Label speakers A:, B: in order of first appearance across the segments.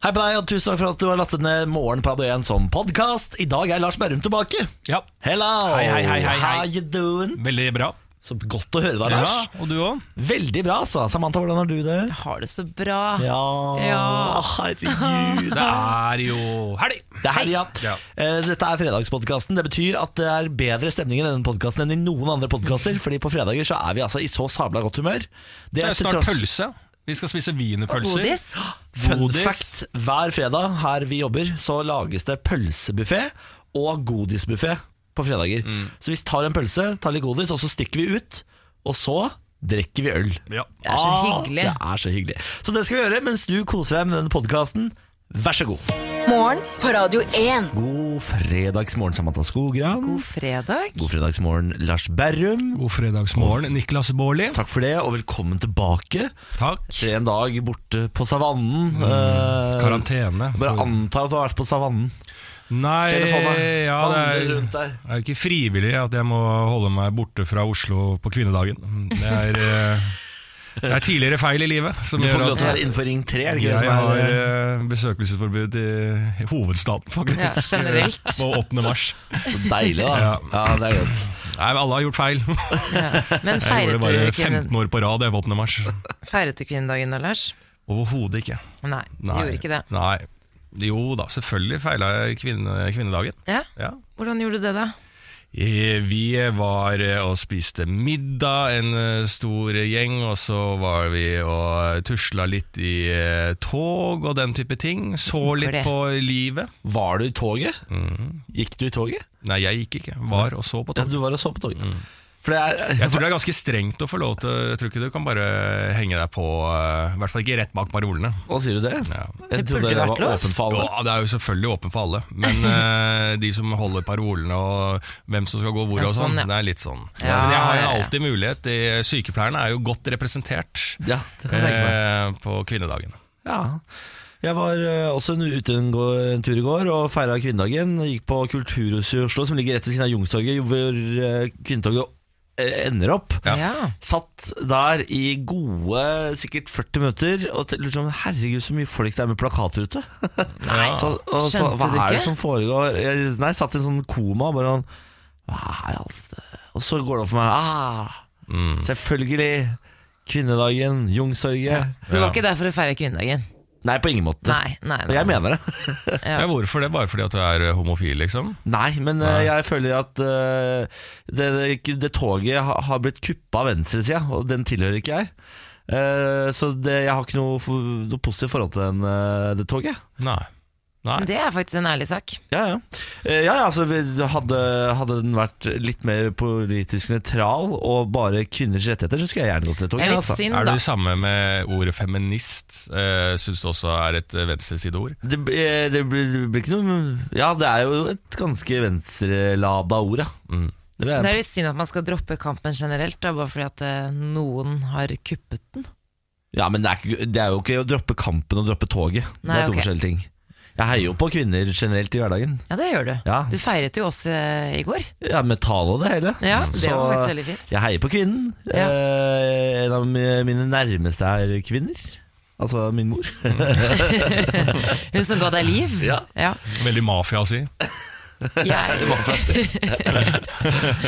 A: Hei på deg, og tusen takk for at du har lastet ned Morgenpad 1 som podkast. I dag er Lars Berrum tilbake.
B: Ja,
A: Hello!
B: Hei, hei, hei, hei, hei.
A: How you doing?
B: veldig bra.
A: Så godt å høre deg,
B: Ja,
A: Lars.
B: og du òg?
A: Veldig bra, altså. Samantha, hvordan har du det?
C: har det så bra.
A: Ja,
C: Ja.
A: herregud.
B: Det er jo helg!
A: Det er helg, ja.
B: Ja.
A: Eh, Dette er fredagspodkasten. Det betyr at det er bedre stemning i denne podkasten enn i noen andre podkaster, Fordi på fredager så er vi altså i så sabla godt humør.
B: Det er
A: til
B: snart
A: tross-
B: pølse. Vi skal spise
C: Og
B: wienerpølser.
C: godis.
A: Fun
B: Godis.
A: fact, hver fredag her vi jobber, så lages det pølsebuffé og godisbuffé på fredager.
C: Mm.
A: Så vi tar en pølse, tar litt godis, og så stikker vi ut. Og så drikker vi øl.
B: Ja.
C: Det er så
A: Ah,
C: hyggelig.
A: Det er så hyggelig. Så det skal vi gjøre mens du koser deg med denne podkasten. Vær så god.
D: Morgen på Radio 1.
A: God fredagsmorgen, Samantha Skogran.
C: God fredag.
A: God fredagsmorgen, Lars Berrum.
B: God fredagsmorgen, Niklas Baarli.
A: Takk for det, og velkommen tilbake.
B: Takk.
A: Etter en dag borte på savannen.
C: Mm.
A: Eh,
B: Karantene.
A: bare
B: for-
A: anta at du har vært på savannen.
B: Nei,
A: Se det for meg.
B: ja, det
A: Vandre
B: er,
A: rundt der.
B: det er jo ikke frivillig at jeg må holde meg borte fra Oslo på kvinnedagen. Det er, eh, det er tidligere feil i livet som
A: Du får
B: gjør
A: ikke lov til å
B: at
A: være innenfor Ring 3, er det ikke
B: jeg
A: det som
B: har
A: er
B: eh, besøkelsesforbud i hovedstaden, faktisk. eh,
C: Ja, generelt.
B: På 8. mars.
A: Så deilig, da. Ja.
B: eh, Ja.
A: det er godt.
B: Nei, men alle har gjort feil.
C: Men
B: Jeg
C: feiret
B: gjorde det
C: du,
B: bare
C: kvinnen,
B: 15 år på rad, jeg, 8. mars.
C: feiret du kvinnedagen da, Lars?
B: Overhodet ikke.
C: Nei, du
B: Nei.
C: gjorde ikke det.
B: Nei. Jo da, selvfølgelig feila jeg kvinne, kvinnedagen.
C: Ja?
B: Ja.
C: Hvordan gjorde du det, da?
B: Eh, Vi var eh, og spiste middag, en eh, stor gjeng, og så var vi og tusla litt i eh, tog og den type ting. Så litt
C: det?
B: på livet. Mm.
A: Var du i toget? Gikk du i toget?
B: Nei, jeg gikk ikke. Var og så på
A: Ja,
B: tog.
A: du var og så på
B: Mm.
A: toget. For det er eh,
B: Jeg tror det er ganske strengt å få lov til Jeg tror ikke du kan bare henge deg på, eh, i hvert fall ikke rett bak parolene.
A: Hva sier du det?
B: Ja.
A: Jeg
C: Det burde
A: trodde det
C: vært
A: var
C: lov.
A: åpent for alle.
B: Ja, det er jo selvfølgelig åpen for alle, men eh, de som holder parolene og hvem som skal gå hvor
C: Ja,
B: og sånn,
C: sånn, ja.
B: det er litt sånn.
C: Ja,
B: men jeg har jo
C: ja, ja.
B: alltid mulighet. De, eh, sykepleierne er jo godt representert
A: Ja, det kan jeg tenke meg.
B: eh, på kvinnedagen.
A: Ja. Jeg var eh, også en- ute en, gå- en tur i går og feira kvinnedagen. Gikk på Kulturhuset i Oslo, som ligger rett ved siden av Youngstorget, hvor eh, kvinnetoget eh, ender opp.
B: Ja.
A: Satt der i gode sikkert 40 minutter og te- lurte sånn Herregud, så mye folk det er med plakater ute. Nei, sånn, så, og, så,
C: Ah, skjønte
A: hva
C: du
A: er det
C: ikke?
A: som foregår? Jeg, nei, jeg satt i en sånn koma og bare sånn Hva er alt det Og så går det opp for meg ah,
C: Mm.
A: Selvfølgelig! Kvinnedagen, Youngstorget.
C: Så det
B: Ja.
C: var ikke der for å feire kvinnedagen?
A: Nei, på ingen måte.
C: Nei, nei,
A: Og
C: nei.
A: jeg mener det.
C: Ja.
B: Ja, hvorfor det? Bare fordi at du er homofil, liksom?
A: Nei, men eh, jeg føler at eh, det, det, det toget ha- har blitt kuppa av venstresida, og den tilhører ikke jeg. Eh, så det, jeg har ikke noe, for, noe positivt forhold til den, eh, det toget.
B: Nei. Nei.
C: Men Det er faktisk en ærlig sak.
A: Ja, ja. Eh, ja, ja altså, vi- hadde, hadde den vært litt mer politisk nøytral og bare kvinners rettigheter, så skulle jeg gjerne gått til det
C: Det
A: toget.
C: er litt
A: altså.
C: synd,
B: Er du
C: da.
B: det samme med ordet feminist? Uh, Syns du også er et eh, venstresideord?
A: Det, eh, det blir, det blir ikke noe Ja, det er jo et ganske venstrelada ord, ja.
B: Mm.
A: Det vil jeg-
C: Det er litt synd at man skal droppe kampen generelt, da, bare fordi at eh, noen har kuppet den.
A: Ja, men det er, ikke, det er jo ikke å droppe kampen og droppe toget. det
C: Nei,
A: er to
C: ok.
A: forskjellige ting. Jeg heier jo på kvinner generelt i hverdagen.
C: Ja, det gjør du.
A: Ja.
C: Du feiret jo oss eh, i går.
A: Ja, Med tale og det hele.
C: Ja, det var
A: Mm. Så-
C: faktisk veldig fint.
A: Jeg heier på kvinnen.
C: Ja.
A: Eh, en av mi- mine nærmeste er kvinner. Altså min mor.
C: Hun som ga deg liv.
A: Ja.
C: ja.
B: Veldig mafia å si.
C: Jeg,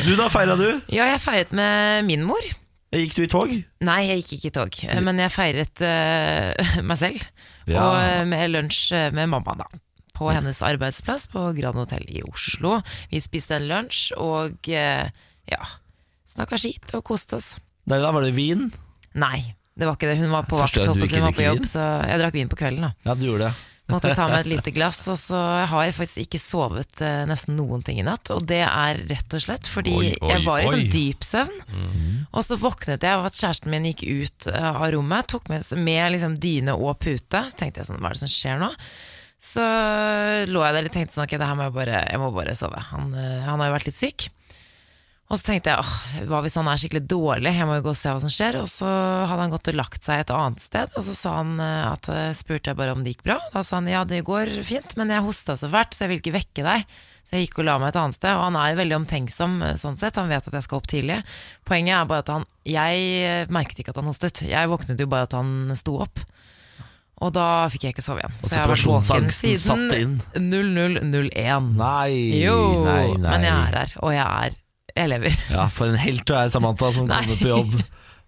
A: Du da, feira du?
C: ja, jeg feiret med min mor.
A: Gikk du i tog?
C: Nei, jeg gikk ikke i tog, men jeg feiret eh, meg selv.
A: Ja.
C: Og eh, med lunsj eh, med mamma, da. På hennes arbeidsplass på Grand Hotel i Oslo. Vi spiste en lunsj og eh, ja, snakka skit og koste oss.
A: Nei, da var det vin.
C: Nei, det var ikke det. Hun var på vakt,
A: Forstår jeg at
C: holdt
A: du
C: på å si,
A: ikke
C: hun var på
A: drikker
C: jobb,
A: vin?
C: så jeg drakk vin på kvelden. da
A: Ja, du gjorde det.
C: Måtte ta med et lite glass, og så har jeg faktisk ikke sovet eh, nesten noen ting i natt. Og det er rett og slett fordi
B: Oi, oi,
C: jeg
B: oi.
C: var i
B: Mhm.
C: sånn dyp søvn. Og så våknet jeg av at kjæresten min gikk ut eh, av rommet, tok med, med liksom dyne og pute. Så tenkte jeg sånn, hva er det som skjer nå? Så lå jeg der litt og tenkte sånn, ok, det her må jeg bare, jeg må bare sove. Han, eh, han har jo vært litt syk. Og så tenkte jeg, åh, hva hvis han er skikkelig dårlig, jeg må jo gå og se hva som skjer. Og så hadde han gått og lagt seg et annet sted, og så sa han eh, at, spurte jeg bare om det gikk bra. Da sa han ja, det går fint, men jeg hosta så fælt, så jeg vil ikke vekke deg. Så jeg gikk og la meg et annet sted, og han er veldig omtenksom eh, sånn sett, han vet at jeg skal opp tidlig. Poenget er bare at han, jeg eh, merket ikke at han hostet, jeg våknet jo bare at han sto opp. Og da fikk jeg ikke sove igjen.
A: Og
C: Så jeg har vært våken
A: separasjonsangsten satte
C: siden
A: inn.
C: 0001.
A: Nei,
C: Jo,
A: nei, nei.
C: men jeg er her, og jeg er Jeg lever.
A: Ja, for en helt du er, Samantha, som
C: Nei.
A: kommer på jobb.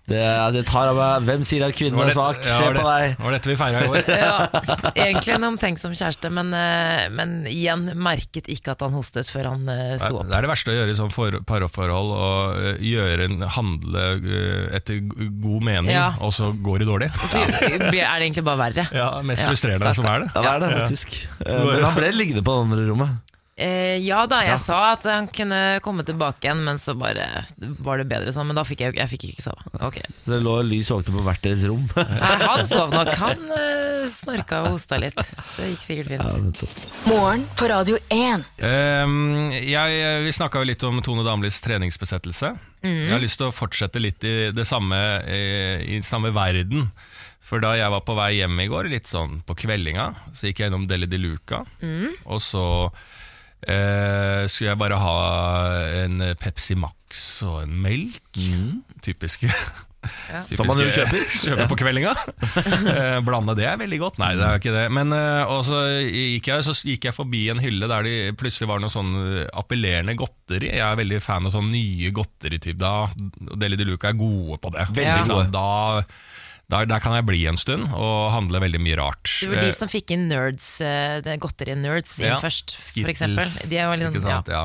A: Det, det tar av meg Hvem sier at kvinnen
B: Var
A: er
B: det-
A: svak?
B: ja,
A: Se
B: var det-
A: på deg.
B: Var dette vi feira i går?
C: Ja, egentlig en omtenksom kjæreste, men, eh, men igjen merket ikke at han hostet før han eh, sto opp.
B: Det er det verste å gjøre i sånn for, parforhold, å øh, gjøre en handle øh, etter g- god mening,
C: Ja.
B: og så går det dårlig.
C: Så blir- er det egentlig bare verre.
B: Ja, mest
C: Ja,
B: frustrerende som er det.
A: Ja, det er det, faktisk. Eh, Men han ble liggende på det andre rommet.
C: Eh, ja da, jeg sa at han kunne komme tilbake igjen, men så bare var det bedre sånn. Men da fikk jeg, jeg fikk ikke sove. Ok.
A: Så det lå lys våkne på hvert deres rom.
C: Nei, Han sov nok. Han eh, snorka og hosta litt. Det gikk sikkert fint.
A: Ja, nettopp.
D: Morgen på Radio 1.
B: Ehm, jeg, vi snakka jo litt om Tone Damlis treningsbesettelse. Jeg har lyst til å fortsette litt i det samme, eh, i samme verden. For da jeg var på vei hjem i går, litt sånn på kveldinga, så gikk jeg innom Deli de Luca. Og så eh, skulle jeg bare ha en Pepsi Max og en melk. Typiske
A: Som man jo
B: typiske-
A: kjøper.
B: Kjøper på kveldinga. Eh, Blande det er veldig godt. Nei, det er ikke det. Men eh, og så gikk jeg, så gikk jeg forbi en hylle der det plutselig var noe sånn appellerende godteri. Jeg er veldig fan av sånn nye godterityp. Da Deli de Luca er gode på det.
A: Veldig
B: Ikke sant?
A: gode.
B: Da, der, der kan jeg bli en stund og handle veldig mye rart.
C: Det var de
B: Eh,
C: som fikk inn nerds, eh, det godteriet nerds inn
B: Ja.
C: først, for
B: Skittles,
C: eksempel. De er jo litt
B: ikke
C: sånn-
B: sant? Ja.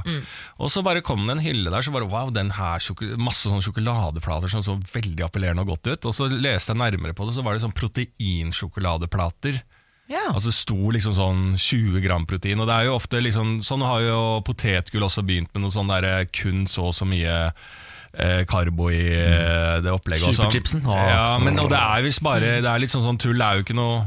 B: Og så bare kom det en hylle der, så bare wow, den her sjoko- masse sånne sjokoladeplater som så veldig appellerende og godt ut. Og så leste jeg nærmere på det, så var det sånn proteinsjokoladeplater.
C: Ja.
B: Altså det sto liksom sånn 20 gram protein, og det er jo ofte liksom Sånn har jo potetgull også begynt med noe sånn derre kun så og så mye eh, karbo i
C: Mm.
B: eh, det opplegget. også.
A: Superchipsen. Åh.
B: Ja, men og det er visst bare Det er litt sånn, sånn tull, det er jo ikke noe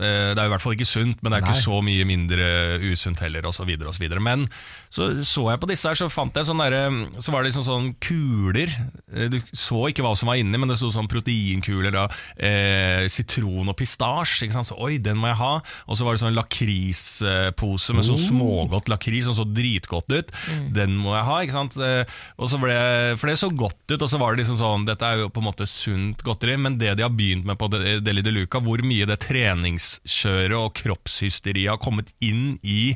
B: eh, det er jo i hvert fall ikke sunt, men det er ikke så mye mindre usunt heller, osv. videre Men så så jeg på disse her, så fant jeg sånn derre- Så var det liksom sånn kuler. Eh, Du så ikke hva som var inni, men det sto sånn proteinkuler og eh, sitron og pistasje. Ikke sant? Så oi, den må jeg ha. Og så var det sånn lakrispose med sånn smågodt lakris som så dritgodt ut. Den må jeg ha, ikke sant. Eh, Og så ble, for det så godt ut, og så var det liksom sånn Dette er jo på en måte sunt godteri, men det de har begynt med på De- Deli de Luca, hvor mye det treningskjøret og kroppshysteriet har kommet inn i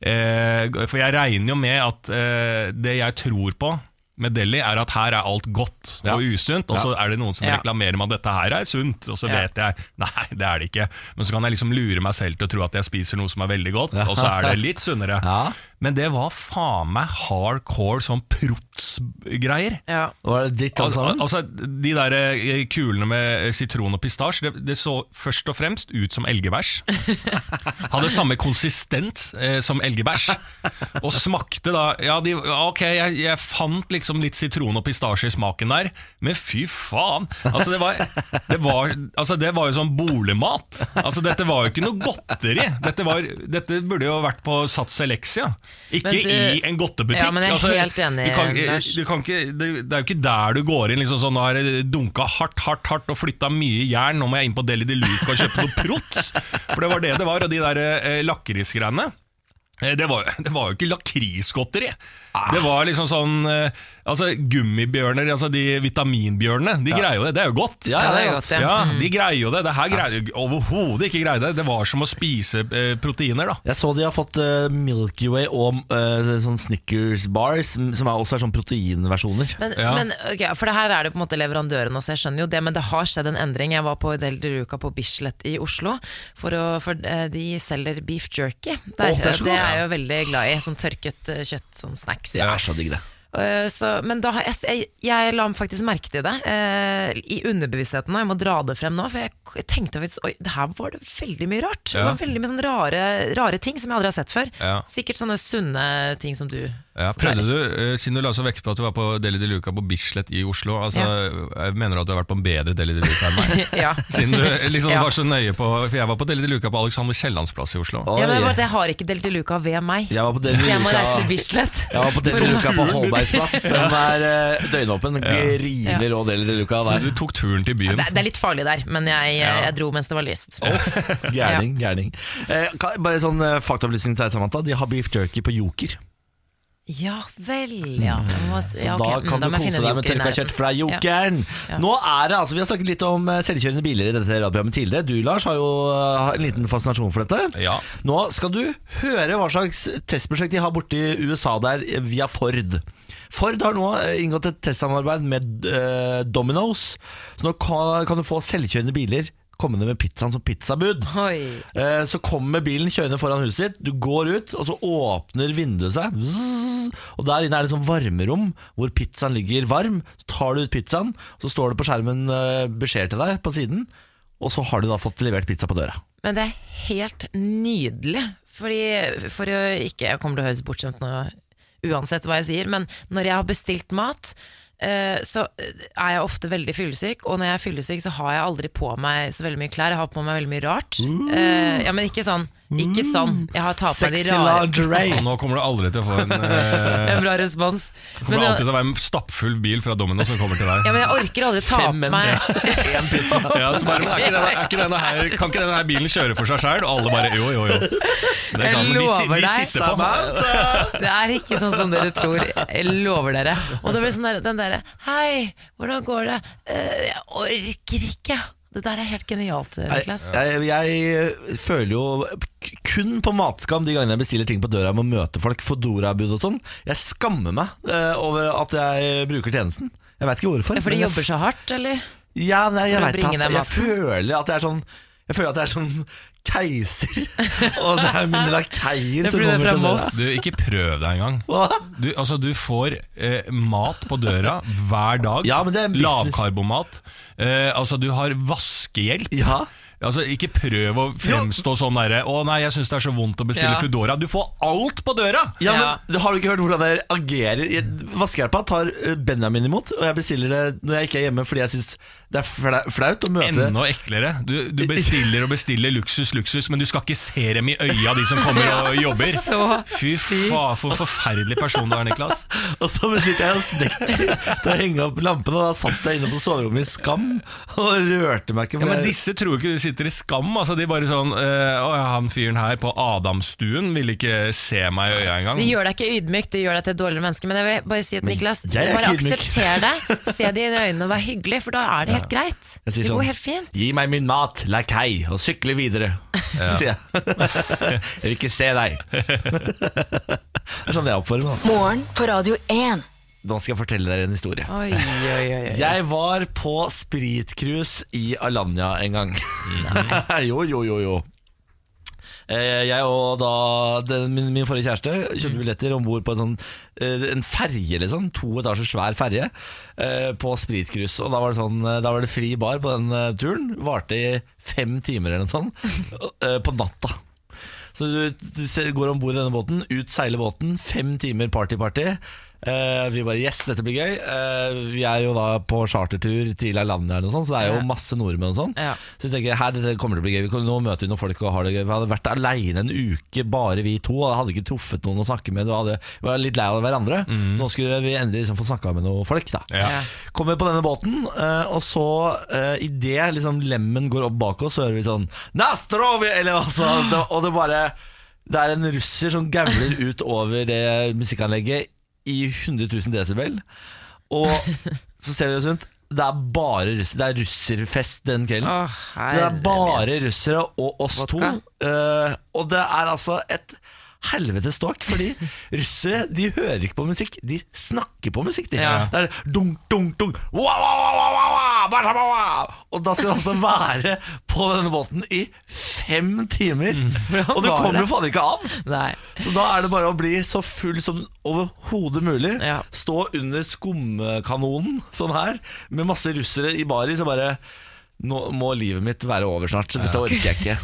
B: eh, For jeg regner jo med at eh, det jeg tror på med Deli, er at her er alt godt
A: Ja.
B: og usunt, og så er det noen som
C: Ja.
B: reklamerer med at dette her er sunt, og så
C: Ja.
B: vet jeg Nei, det er det ikke. Men så kan jeg liksom lure meg selv til å tro at jeg spiser noe som er veldig godt, og så er det litt sunnere.
A: Ja.
B: Men det var faen meg hardcore sånn prots-greier.
C: Ja.
A: Var det dritt alt
B: Al al-
A: sammen?
B: altså, de der eh, kulene med eh, sitron og pistasje, det, det så først og fremst ut som elgebæsj. Hadde samme konsistent eh, som elgebæsj. Og smakte da Ja, de, ja, ok, jeg, jeg fant liksom litt sitron og pistasje i smaken der, men fy faen! Altså, det var, det var, altså, det var jo sånn boligmat. Altså, dette var jo ikke noe godteri. Dette, var, dette burde jo vært på Sats Elexia, ikke
C: Men du-
B: i en godtebutikk.
C: Ja, men jeg er
B: altså,
C: helt enig,
B: du kan,
C: Lars.
B: du kan ikke, det, det er jo ikke der du går inn liksom sånn, Nå har jeg dunka hardt, hardt, hardt og flytta mye jern Nå må jeg inn på Deli de Luca og kjøpe noe prots For det var det det var Og de der eh, lakrisgreiene eh, det var, det var jo ikke lakrisgodteri
C: Ah.
B: Det var liksom sånn eh, Altså gummibjørner Altså de vitaminbjørnene De greier jo det, det er jo godt
C: Ja, det er godt, ja. Mm.
B: ja de greier jo det Det her greier jo overhovedet ikke greier det Det var som å spise eh, proteiner da
A: Jeg så de har fått eh, Milky Way og eh, sånn Snickers bars, som som er også er sånn proteinversjoner.
C: Men,
B: Ja.
C: men ok, for det her er det på en måte leverandøren også, jeg skjønner jo det, men det har skjedd en endring. Jeg var på Del de Ruca på Bislett i Oslo, for, å, for eh, de selger beef jerky. Der,
A: Å, det er så
C: det
A: godt.
C: er jeg jo veldig glad i, sånn tørket eh, kjøtt, sånn snacks.
A: Det er så digg, det.
C: Eh, Så, men da har jeg, jeg, jeg la meg faktisk merke til det eh, i underbevisstheten, og jeg må dra det frem nå. For jeg, jeg tenkte faktisk Oi, det her var det veldig mye rart. Det
B: Ja.
C: var veldig mye sånn rare, rare ting som jeg aldri har sett før.
B: Ja.
C: Sikkert sånne sunne ting som du
B: Ja, prøvde du, eh, Siden du la så vekt på at du var på Deli de Luca på Bislett i Oslo, altså, jeg mener du at du har vært på en bedre Deli de Luca enn meg?
C: Ja.
B: Siden du liksom
C: Ja.
B: var så nøye på For jeg var på Deli de Luca på Alexander Kiellands plass i Oslo.
A: Oi.
C: Ja, men det er bare at jeg har ikke Del de Luca ved meg,
A: Jeg var på Deli
C: så jeg må
A: Luca-
C: reise til Bislett.
A: Jeg var på Deli de Luca på Holbergsplass. Den er eh, døgnåpen. Rimelig rå Deli de Luca
B: Så
A: der.
B: du tok turen til byen.
C: Det, er- det er litt farlig der, men jeg, jeg dro mens det var lyst.
A: Gærning, gærning. Eh, kan- bare sånn eh, faktaopplysning til deg, Samantha. De har beef jerky på Joker.
C: Ja vel, ja. Jeg må s-
A: Så
C: ja, ok,
A: da
C: mm,
A: kan
C: må
A: du
C: jeg finne
A: kose
C: en
A: deg med
C: joker i
A: tørka
C: nærheten.
A: kjøtt fra jokeren.
C: Ja.
A: Nå er det, altså Vi har snakket litt om eh, selvkjørende biler i dette radioprogrammet tidligere. Du, Lars, har jo eh, en liten fascinasjon for dette.
B: Ja.
A: Nå skal du høre hva slags testprosjekt de har borti USA der eh, via Ford. Ford har nå eh, inngått et testsamarbeid med eh, Domino's, så nå kan, kan du få selvkjørende biler kommende med pizzaen som pizzabud.
C: Oi.
A: Eh, Så kommer bilen kjørende foran huset ditt, du går ut, og så åpner vinduet seg. Zzz, Og der inne er det sånn varmerom hvor pizzaen ligger varm. Så tar du ut pizzaen, så står det på skjermen eh, beskjed til deg på siden. Og så har du da fått levert pizza på døra.
C: Men det er helt nydelig. Fordi, for å ikke Jeg kommer til å høres bortskjemt nå uansett hva jeg sier, men når jeg har bestilt mat, eh, så er jeg ofte veldig fyllesyk. Og når jeg er fyllesyk, så har jeg aldri på meg så veldig mye klær. Jeg har på meg veldig mye rart. Eh, ja, men ikke sånn. Ikke sånn. Jeg har tatt på meg de
A: Uh. Sexy
C: rare.
A: lingerie.
B: Og nå kommer du aldri til å få en eh,
C: En bra respons.
B: Det
C: Men,
B: kommer alltid
C: jeg-
B: til å være en stappfull bil fra Domino som kommer til deg.
C: ja, men jeg orker aldri ta på
A: Fem menn.
C: meg
B: Ja, så bare, men er ikke denne, er ikke denne her, kan ikke denne her bilen kjøre for seg sjøl? Og alle bare jo, jo, jo. Det
C: Jeg
B: kan, vi, si-
C: lover
B: vi
C: deg.
B: sitter på.
C: Det er ikke sånn som dere tror. Jeg lover dere. Og det blir sånn der, den derre Hei, hvordan går det? «Eh, jeg orker ikke. Det der er helt genialt,
A: Jeg,
C: Niklas.
A: jeg, jeg føler jo k- kun på matskam de gangene jeg bestiller ting på døra med å møte folk, Fodora-bud og sånn. Jeg skammer meg eh, over at jeg bruker tjenesten. Jeg veit ikke hvorfor.
C: Ja, For
A: men
C: de
A: jeg
C: jobber så hardt, eller?
A: Ja, nei, jeg
C: For å
A: vet
C: bringe
A: ikke.
C: deg
A: Jeg føler at jeg er sånn jeg føler at jeg er sånn keiser, og det er mine lakeier
C: Det
A: som
C: blir det
A: kommer
C: fra
A: til døra.
C: Moss.
B: Du, ikke prøv deg engang.
A: Hva?
B: Du, altså, du får eh, mat på døra hver dag.
A: Ja, men det er en business.
B: Lavkarbomat. Eh, altså, du har vaskehjelp.
A: Ja.
B: Altså, Ikke prøv å fremstå sånn derre 'Å nei, jeg syns det er så vondt å bestille
C: Ja.
B: Foodora'. Du får alt på døra!
A: ja,
C: Ja.
A: men Har du ikke hørt hvordan jeg agerer? Jeg- Vaskehjelpa tar eh, Benjamin imot, og jeg bestiller det når jeg ikke er hjemme fordi jeg syns det er fla- flaut å møte
B: Enda eklere. Du, du bestiller og bestiller luksus, luksus, men du skal ikke se dem i øya, de som kommer og jobber.
C: Så
B: Fy faen, for en forferdelig person du er, Niklas.
A: Og så sitter jeg og snekker til å henge opp lampene, og da satt jeg inne på soverommet i skam og rørte meg ikke. for
B: Ja, men
A: jeg-
B: Disse tror ikke de sitter i skam. Altså, de bare sånn eh, Å ja, han fyren her på Adamstuen ville ikke se meg i øya engang.
C: Det gjør deg ikke ydmyk, det gjør deg til et dårligere menneske. Men jeg vil bare si at Niklas,
A: jeg er
C: bare
A: ikke ydmyk.
C: aksepter det. Se det i øynene og vær hyggelig, for da er det helt greit.
A: Jeg sier
C: Det går
A: sånn,
C: helt fint.
A: Gi meg min mat, lakei, og sykle videre. Sier jeg. jeg vil ikke se deg. det er sånn jeg oppfører meg.
D: Morgen på Radio 1.
A: Nå skal jeg fortelle dere en historie.
C: Oi, oi, oi. oi.
A: Jeg var på spritcruise i Alanya en gang. jo, jo, jo, jo. Eh, Jeg og da den, min, min forrige kjæreste kjøpte billetter om bord på en, sånn, eh, en ferje, liksom. To etasjer svær ferje eh, på spritkrus. Og da var, det sånn, eh, da var det fri bar på den eh, turen. Varte i fem timer eller noe sånt eh, på natta. Så du, du se- går om bord i denne båten, ut seiler båten, fem timer party-party. Eh, vi bare Yes, dette blir gøy. Eh, vi er jo da på chartertur til Alanya, eller noe sånt, så det er jo
C: Ja.
A: masse nordmenn og sånn.
C: Ja.
A: Så jeg tenker her, dette kommer til å bli gøy. Vi kan- Nå møter vi noen folk og har det gøy. Vi hadde vært aleine en uke, bare vi to. Og hadde ikke truffet noen å snakke med. Og hadde, vi var litt lei av hverandre. Nå skulle vi endelig liksom få snakka med noen folk. da
B: Ja.
C: Mhm. Ja.
A: Kommer på denne båten, eh, og så uh, idet liksom lemmen går opp bak oss, så hører vi sånn Nastrovi! Eller altså, det, Og det bare Det er en russer som gauler ut over det musikkanlegget i 100 000 desibel. Og så ser vi oss rundt. Det er bare russer. Det er russerfest den kvelden.
C: Å,
A: Så det er
C: herre min.
A: bare russere og oss
C: Vodka.
A: to. eh, og det er altså et helvetes ståk, fordi russere de hører ikke på musikk, de snakker på musikk. De.
C: Ja.
A: Det er dung, dung, dung wow, wow, wow, wow, wow, bada, wow, wow. Og da skal du altså være på denne båten i fem timer,
C: Mm.
A: og du
C: bare.
A: kommer jo faen ikke an.
C: Nei.
A: Så da er det bare å bli så full som overhodet mulig.
C: Ja.
A: Stå under skumkanonen sånn her, med masse russere i baris og bare nå må livet mitt være over snart, så dette orker jeg ikke.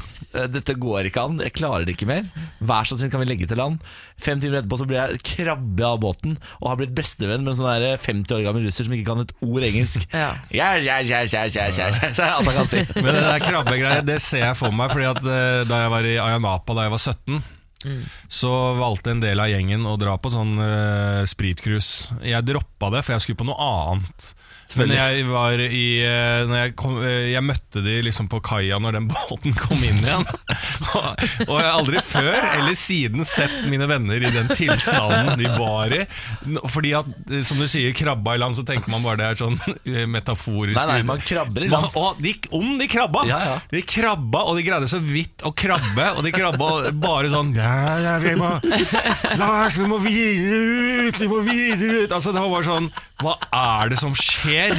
A: Eh, Dette går ikke an, jeg klarer det ikke mer. Vær så snill, kan vi legge til land? Fem timer etterpå så blir jeg krabbe av båten og har blitt bestevenn med en sånn der 50 år gammel russer som ikke kan et ord engelsk.
C: Ja.
A: Ja, ja, ja, ja, ja, ja, ja, ja, alt han kan si.
B: Men det der krabbegreiet, det ser jeg for meg, fordi at eh, da jeg var i Ayanapa da jeg var 17
A: Mm.
B: Så valgte en del av gjengen å dra på sånn uh, spritkrus. Jeg droppa det, for jeg skulle på noe annet. Men jeg var i eh, når jeg, kom, eh, jeg møtte de liksom på kaia når den båten kom inn igjen. og, og jeg har aldri før eller siden sett mine venner i den tilstanden de var i. N- Fordi at, eh, som du sier, krabba i land, så tenker man bare det er sånn eh, metaforisk.
A: Nei, nei, man krabber i
B: Man-
A: land.
B: og de, om de krabba!
A: Ja, ja.
B: De krabba, og de greide så vidt å krabbe. Og de krabba bare sånn ja, ja, vi må, Lars, vi må videre ut! Vi må videre ut! Altså, det var bare sånn Hva er det som skjer?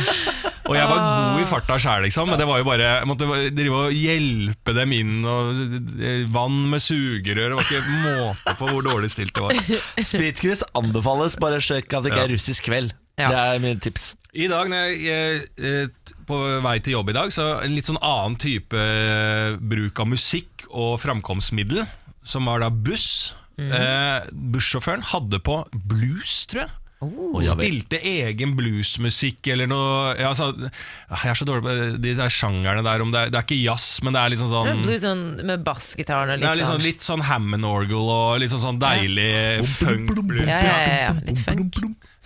B: Og jeg var god i farta sjæl, liksom, men det var jo bare jeg måtte drive og hjelpe dem inn. Og eh, vann med sugerør. Det var ikke måte på hvor dårlig stilt det var.
A: Spritkrus anbefales, bare sjekk at det ikke er russisk kveld.
C: Ja.
A: Det er mitt tips.
B: I dag, når jeg er på vei til jobb i dag, så en litt sånn annen type eh, bruk av musikk og framkomstmiddel, som var da buss.
C: Mhm.
B: Eh, bussjåføren hadde på blues, tror jeg.
C: Oh,
A: Å, ja vel.
B: Spilte egen bluesmusikk eller noe ja, altså, Jeg er så dårlig på de der sjangerne der. Om det, er, det er ikke jazz, men det er liksom sånn
C: Blues sånn med bassgitaren og
B: det er
C: litt
B: litt sånn,
C: sånn.
B: litt sånn Hammond orgel og litt sånn, sånn deilig funk-blues.
C: Ja, ja, ja, ja. Litt funk.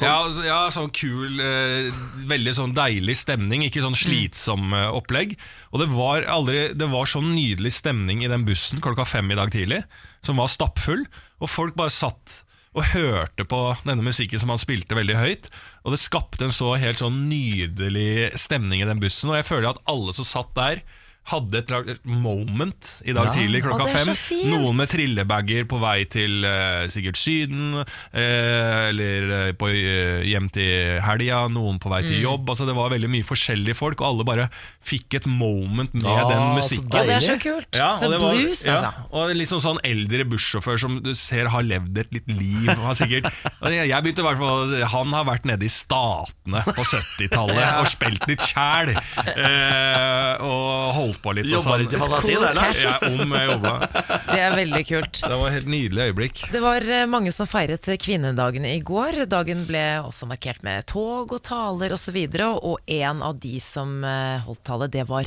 B: Ja, altså, ja, sånn kul, eh, veldig sånn deilig stemning, ikke
C: Mm.
B: sånn slitsom eh, opplegg. Og det var, aldri, det var sånn nydelig stemning i den bussen klokka fem i dag tidlig, som var stappfull, og folk bare satt og hørte på denne musikken som han spilte veldig høyt, og det skapte en så helt sånn nydelig stemning i den bussen, og jeg føler at alle som satt der, hadde et slags moment i dag tidlig klokka
C: Å, det er
B: fem.
C: så fint.
B: Noen noen med trillebager på vei til eh, sikkert Syden, eh, eller eh, på, eh, hjem til helga, noen på vei til jobb. Altså, det var veldig mye forskjellige folk, og alle bare fikk et moment med
A: Ah,
B: den
A: så
B: musikken.
C: Ja, det er så
A: Deilig.
C: kult.
B: Ja,
C: så
B: og altså, det var-
C: blues,
B: ja,
C: altså.
B: Og litt sånn, sånn eldre bussjåfør som du ser har levd et litt liv. og Har sikkert, og jeg jeg begynte i hvert fall Han har vært nede i Statene på 70-tallet og spilt litt kjæl. Eh, og holdt på litt. og
A: Jobba
B: sånn.
A: litt i fantasien der, Lars.
B: Ja, om jeg jobba.
C: Det er veldig kult.
B: Det var et helt nydelig øyeblikk.
C: Det var eh, mange som feiret eh, kvinnedagen i går. Dagen ble også markert med tog og taler osv. Og en av de som eh, holdt tale, det var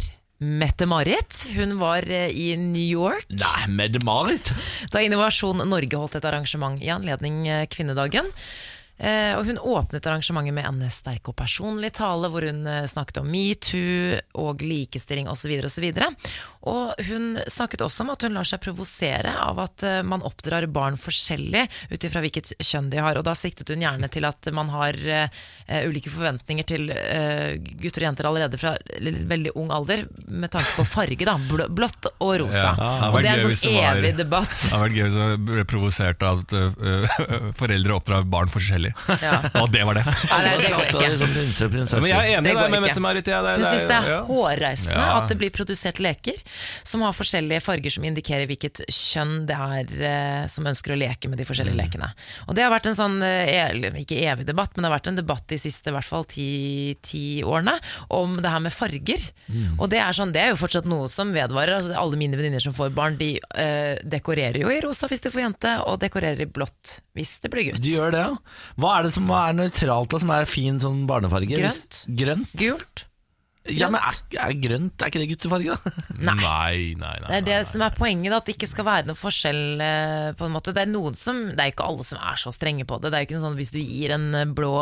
C: Mette-Marit. Hun var eh, i New York
A: Nei, med Marit.
C: da Innovasjon Norge holdt et arrangement i anledning eh, kvinnedagen. Eh, og hun åpnet arrangementet med en sterk og personlig tale, hvor hun eh, snakket om metoo og likestilling osv. Og, så videre. og hun snakket også om at hun lar seg provosere av at eh, man oppdrar barn forskjellig ut ifra hvilket kjønn de har. Og da siktet hun gjerne til at man har eh, eh, ulike forventninger til eh, gutter og jenter allerede fra l- veldig ung alder, med tanke på farge, da. Blå, blått og rosa.
B: Ja, det hadde vært
C: og det er
B: gøy
C: en
B: hvis
C: sånn
B: det var-
C: evig debatt.
B: Det hadde vært gøy hvis jeg ble provosert av at øh, foreldre oppdrar barn forskjellig.
C: Ja.
B: Og det var det.
C: Nei, nei, det går
A: Skapte
C: ikke.
A: liksom prinser og prinsesser.
B: Men jeg er enig
C: Det går
B: der med
C: ikke.
B: Mette-Marit. Ja, det-
C: Hun
B: det er-
C: syns det er
B: ja.
C: hårreisende
B: Ja.
C: at det blir produsert leker som har forskjellige farger som indikerer hvilket kjønn det er eh, som ønsker å leke med de forskjellige lekene. Og det har vært en sånn, eh, e- eller ikke evig debatt, men det har vært en debatt de siste i hvert fall ti, ti årene om det her med farger. Og det er, sånn, det er jo fortsatt noe som vedvarer. Altså, alle mine venninner som får barn, de eh, dekorerer jo i rosa hvis de får jente, og dekorerer i blått hvis det blir gutt.
A: Du gjør det, ja. Hva er det som er nøytralt da, som er fin sånn barnefarge?
C: Grønt.
A: Hvis- Grønt?
C: Gult.
A: Ja, men er, er grønt, er ikke det guttefarge da?
B: Nei, nei, nei.
C: Det
B: nei,
C: er det som er poenget, da, at det ikke skal være noe forskjell. eh, på en måte. Det er, noen som, det er ikke alle som er så strenge på det. Det er jo ikke noe sånn Hvis du gir en eh, blå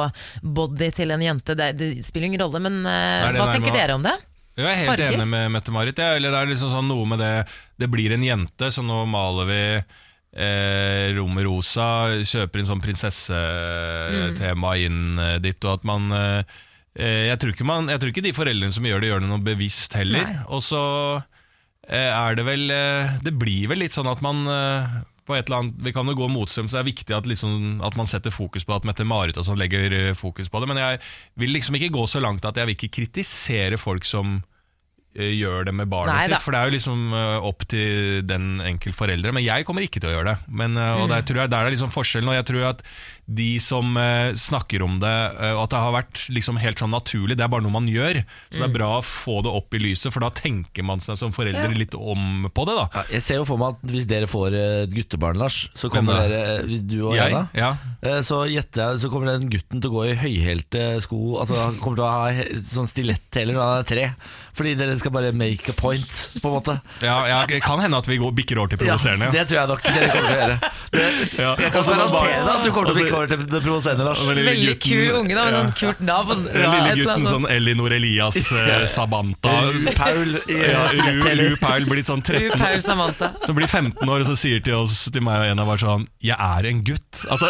C: body til en jente, det, det spiller ingen rolle. Men eh,
B: Er det
C: hva
B: nærmere-
C: tenker dere om det?
B: Jeg er helt
C: Farger?
B: enig med Mette-Marit. Ja. Eller det er liksom sånn noe med det Det blir en jente, så nå maler vi eh, rommet rosa, kjøper inn sånn prinsessetema inn eh, dit, og at man eh, eh, jeg, tror ikke man, jeg tror ikke de foreldrene som gjør det, gjør det noe bevisst heller. Og så eh, er det vel eh, Det blir vel litt sånn at man eh, på et eller annet, Vi kan jo gå motstrøm, så det er viktig at, liksom, at man setter fokus på at Mette-Marit og sånn legger eh, fokus på det. Men jeg vil liksom ikke gå så langt at jeg vil ikke kritisere folk som eh, gjør det med barnet
C: Nei da.
B: sitt. For det er jo liksom eh, opp til den enkelte foreldre. Men jeg kommer ikke til å gjøre det. Men, eh, og
C: Mm.
B: der, tror jeg, der er liksom forskjellen. Og jeg tror at de som eh, snakker om det, eh, og at det har vært liksom helt sånn naturlig, det er bare noe man gjør. Så
C: Mm.
B: det er bra å få det opp i lyset, for da tenker man seg som foreldre litt om på det. da
A: Jeg ser jo for meg at hvis dere får et guttebarn, Lars, så
B: Hvem
A: kommer
B: da?
A: dere, eh, hvis du og
B: Jeg?
A: Ena,
B: Ja.
A: Eh, Så gjetter jeg, så kommer den gutten til å gå i høyhælte sko Altså han kommer til å ha he- sånn stiletthæler når han er tre. Fordi dere skal bare make a point, på en måte.
B: Ja, ja, det kan hende at vi går, bikker over til provoserende.
A: det tror jeg nok dere kommer til å gjøre. Det,
B: Ja,
A: jeg
B: og
A: kan
B: så da bare-
A: garantere deg at du kommer til å bikke over til det provoserende, Lars.
B: Den lille
C: Veldig
B: gutten-
C: kul unge, da, med
B: Ja.
C: sånn kult navn.
B: Den
C: Ja,
B: lille
C: et eller
B: gutten
C: annet
B: sånn Elinor Elias eh, Sabanta.
A: Ru Paul i
B: Ja, Ru, Ru
A: stiletthæler.
B: Paul blitt sånn
C: Du,
B: 13
C: Paul Samantha.
B: som blir 15 år og så sier til oss Til meg og en av oss sånn Jeg er en gutt Altså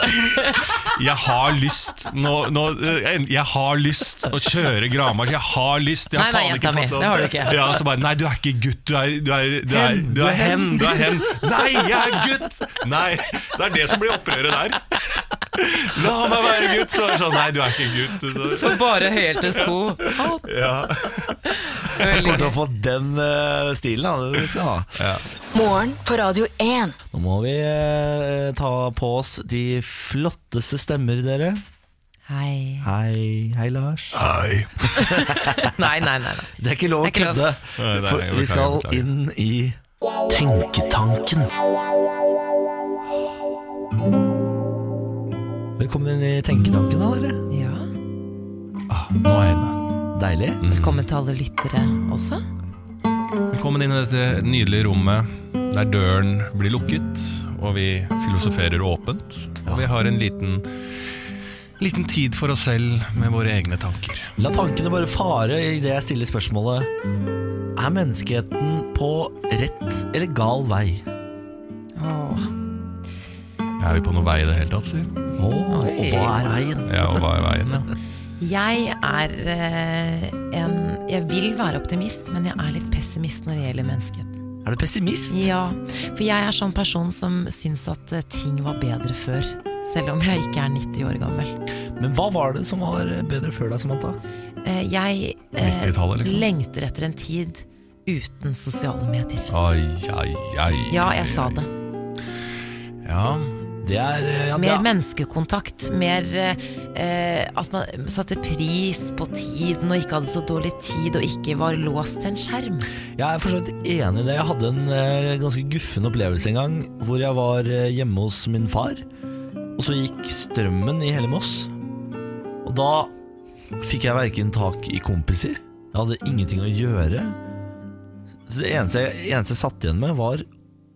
B: Jeg har lyst nå, nå, eh, Jeg har lyst å kjøre Gramars Jeg har lyst jeg har
C: Nei, nei,
B: faen ikke
C: jenta mi,
B: fått
C: det har du ikke.
B: Ja, så bare Nei, du er ikke gutt Du er, du er, du er, du er hen Du er hen Nei, jeg er gutt Nei Det er det som blir opprøret der La meg være gutt Så er det sånn Nei, du er ikke gutt så,
C: For bare høyhælte sko. Å,
B: Ja
C: veldig
A: Kommer til
C: gøy.
A: å få den eh, stilen, da. Det skal han ha.
D: Morgen på Radio 1.
A: Nå må vi eh, ta på oss de flotteste stemmer, dere.
C: Hei.
A: Hei, hei Lars.
B: Nei
C: Nei, nei, nei. nei.
A: Ah, Det er ikke lov å
C: Det er ikke lov.
A: kødde,
B: Nei, nei,
A: for
B: jeg
A: vi
B: beklager,
A: skal
B: beklager.
A: inn i Tenketanken. Velkommen inn i Tenketanken, da, dere.
C: Ja.
B: Nå er jeg inne
A: Deilig.
C: Velkommen til alle lyttere også.
B: Velkommen inn i dette nydelige rommet der døren blir lukket, og vi filosoferer åpent. Og vi har en liten, liten tid for oss selv med våre egne tanker.
A: La tankene bare fare idet jeg stiller spørsmålet Er menneskeheten på rett eller gal vei?
C: Åh.
B: Er vi på noen vei i det hele tatt, sier
A: Åh, og hva er veien?
B: Ja, og hva er veien, ja.
C: Jeg er eh, en Jeg vil være optimist, men jeg er litt pessimist når det gjelder menneskeheten.
A: Er du pessimist?
C: Ja, for jeg er sånn person som syns at eh, ting var bedre før. Selv om jeg ikke er 90 år gammel.
A: Men hva var det som var bedre før deg, Samantha?
C: Eh, jeg eh,
B: 90-tallet, liksom.
C: lengter etter en tid uten sosiale medier.
B: Ai, ai, ai.
C: Ja, jeg sa det.
B: Ja,
A: Det er eh, ja,
C: Mer
A: det er-
C: menneskekontakt. Mer eh, eh, at man satte pris på tiden og ikke hadde så dårlig tid og ikke var låst til en skjerm.
A: Jeg er for så vidt enig i det. Jeg hadde en eh, ganske guffen opplevelse en gang hvor jeg var eh, hjemme hos min far, og så gikk strømmen i hele Moss. Og da fikk jeg verken tak i kompiser, jeg hadde ingenting å gjøre. Så det eneste, eneste jeg satt igjen med, var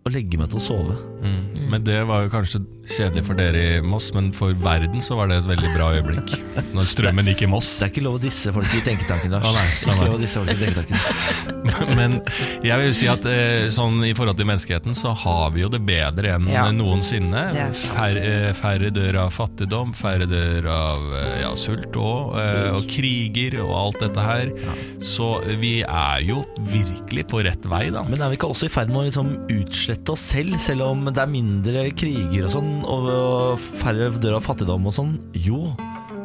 A: å legge meg til å sove.
B: mm. men det var jo kanskje kjedelig for dere i Moss, men for verden så var det et veldig bra øyeblikk. Når strømmen gikk i Moss.
A: Det er ikke lov å disse folk i tenketanken, Lars.
B: Å, nei, nei, nei.
A: Ikke lov å disse folk i tenketanken.
B: Men jeg vil jo si at eh, sånn i forhold til menneskeheten så har vi jo det bedre enn
C: Ja.
B: noensinne.
C: Det er sant.
B: Fær, eh, færre dør av fattigdom, færre dør av eh, ja, sult og, eh, og kriger og alt dette her. Så eh, vi er jo virkelig på rett vei, da.
A: Men er vi ikke også i ferd med å liksom utslette oss selv, selv om det er mindre kriger og sånn, og færre dør av fattigdom og sånn? Jo.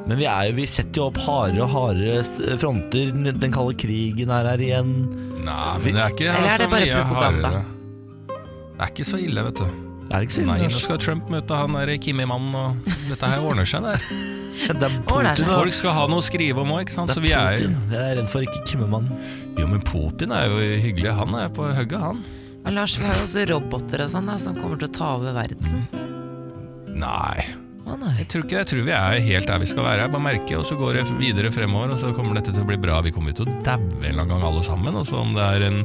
A: Men vi, er jo, vi setter jo opp hardere og hardere st- fronter. Den kalde krigen er her igjen.
B: Nei, men det er ikke
C: Eller er det
B: så
C: bare
B: mye
C: propaganda?
B: hardere. Det er ikke så ille, vet du.
A: Det er ikke så
B: Nei,
A: ille.
B: nå
A: Lars.
B: skal Trump møte han der Kimi-mannen, og dette her ordner seg, det.
A: Det er
C: Ordner seg.
A: Putin. og-
B: Folk skal ha noe å skrive om òg, ikke sant.
A: Det
B: Så
A: er
B: vi er jo
A: Putin. Jeg er redd for ikke Kimmemann.
B: Jo, men Putin er jo hyggelig. Han er på hugget, han.
C: Men Lars, vi har jo også roboter og sånn da, som kommer til å ta over verden.
B: Nei.
C: Å nei.
B: Jeg tror ikke Jeg tror vi er helt der vi skal være. Jeg bare merker, og så går det videre fremover, og så kommer dette til å bli bra. Vi kommer jo til å daue en eller annen gang, alle sammen. Og så om det er en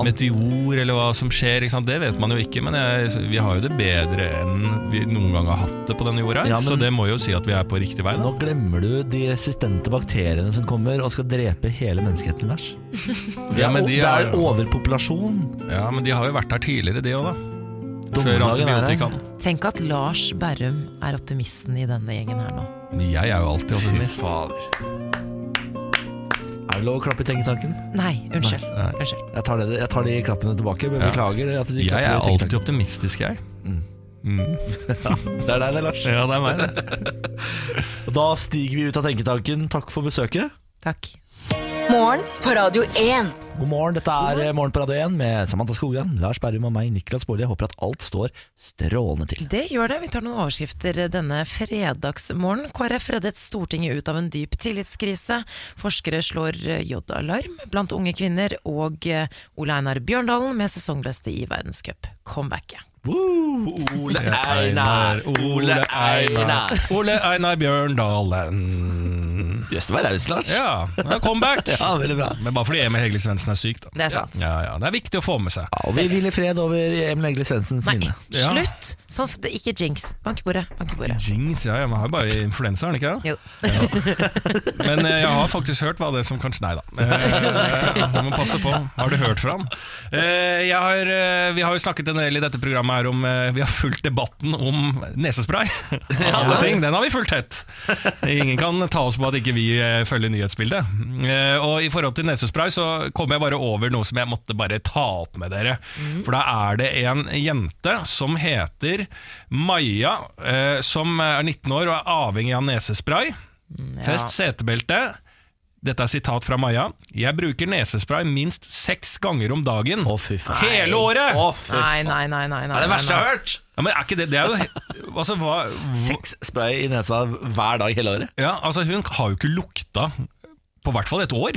B: meteor eller hva som skjer, ikke sant? det vet man jo ikke. Men jeg, vi har jo det bedre enn vi noen gang har hatt det på denne jorda.
A: Ja, men-
B: så det må jo si at vi er på riktig vei. Da.
A: Nå glemmer du de resistente bakteriene som kommer og skal drepe hele menneskeheten, Lars. Det
B: Ja,
A: er,
B: men de
A: det er
B: er-
A: overpopulasjon.
B: Ja, Men de har jo vært der tidligere, de òg, da. Før
A: Dommedagen er her.
B: antibiotikaen.
C: Tenk at Lars Berrum er optimisten i denne gjengen her nå.
B: Jeg er jo alltid optimist.
A: Er det lov å klappe i tenketanken?
C: Nei, unnskyld.
B: Nei, nei.
C: unnskyld.
A: Jeg tar, det, jeg tar de klappene tilbake, men
B: Ja.
A: beklager at de
B: Jeg
A: klapper
B: er
A: i
B: alltid
A: tenketanken.
B: optimistisk, jeg.
A: Det er deg det, Lars.
B: Ja, det er meg, det.
A: Og da stiger vi ut av tenketanken. Takk for besøket.
C: Takk.
D: Morgen på Radio 1.
A: God morgen, dette er Morgen på Radio 1 med Samantha Skogran, Lars Berrum og meg, Niklas Baarli. Jeg håper at alt står strålende til.
C: Det gjør det. Vi tar noen overskrifter denne fredagsmorgen. KrF reddet Stortinget ut av en dyp tillitskrise. Forskere slår eh, J-alarm blant unge kvinner. Og eh, Ole Einar Bjørndalen med sesongbeste i verdenscup. Comebacket.
A: Woo, Ole Einar, Ole Einar.
B: Ole Einar Bjørndalen.
A: Jøss, det var raust, Lars.
B: Ja, det er comeback.
A: Ja, veldig bra.
B: Men bare fordi Emil Hegle Svendsen er syk, da.
C: Det er sant.
B: Ja, ja, Det er viktig å få med seg.
A: Ja, og vi hviler i fred over Emil Egle Svendsens
C: Nei,
A: minne.
B: Ja.
C: slutt! Sånn, f- det, ikke jinx. Bank i bordet. Bank i bordet.
B: Jings, ja, ja, Man har jo bare influensa, har man ikke det?
C: Jo.
B: Men eh, jeg har faktisk hørt hva det som kanskje Nei da. Eh, Man må passe på. Har du hørt fra ham? Eh, jeg har, eh, vi har jo snakket en del i dette programmet her om eh, Vi har fulgt debatten om nesespray. Alle ting, Den har vi fulgt tett. Ingen kan ta oss på at ikke vi eh, følger nyhetsbildet. Eh, og i forhold til nesespray så kom jeg bare over noe som jeg måtte bare ta opp med dere. For da er det en jente som heter Maja, eh, som er 19 år og er avhengig av nesespray. Fest setebelte. Dette er sitat fra Maja. Jeg bruker nesespray minst seks ganger om dagen.
A: Å, fy faen.
B: Hele året!
A: Å, fy
C: Nei,
A: faen.
C: nei, nei. nei, nei
A: Det er det verste jeg
C: nei,
A: har hørt.
B: Ja, men er ikke det, det er jo he- altså, hva,
A: Seks spray i nesa hver dag hele året.
B: ja, altså, Hun har jo ikke lukta på hvert fall et år.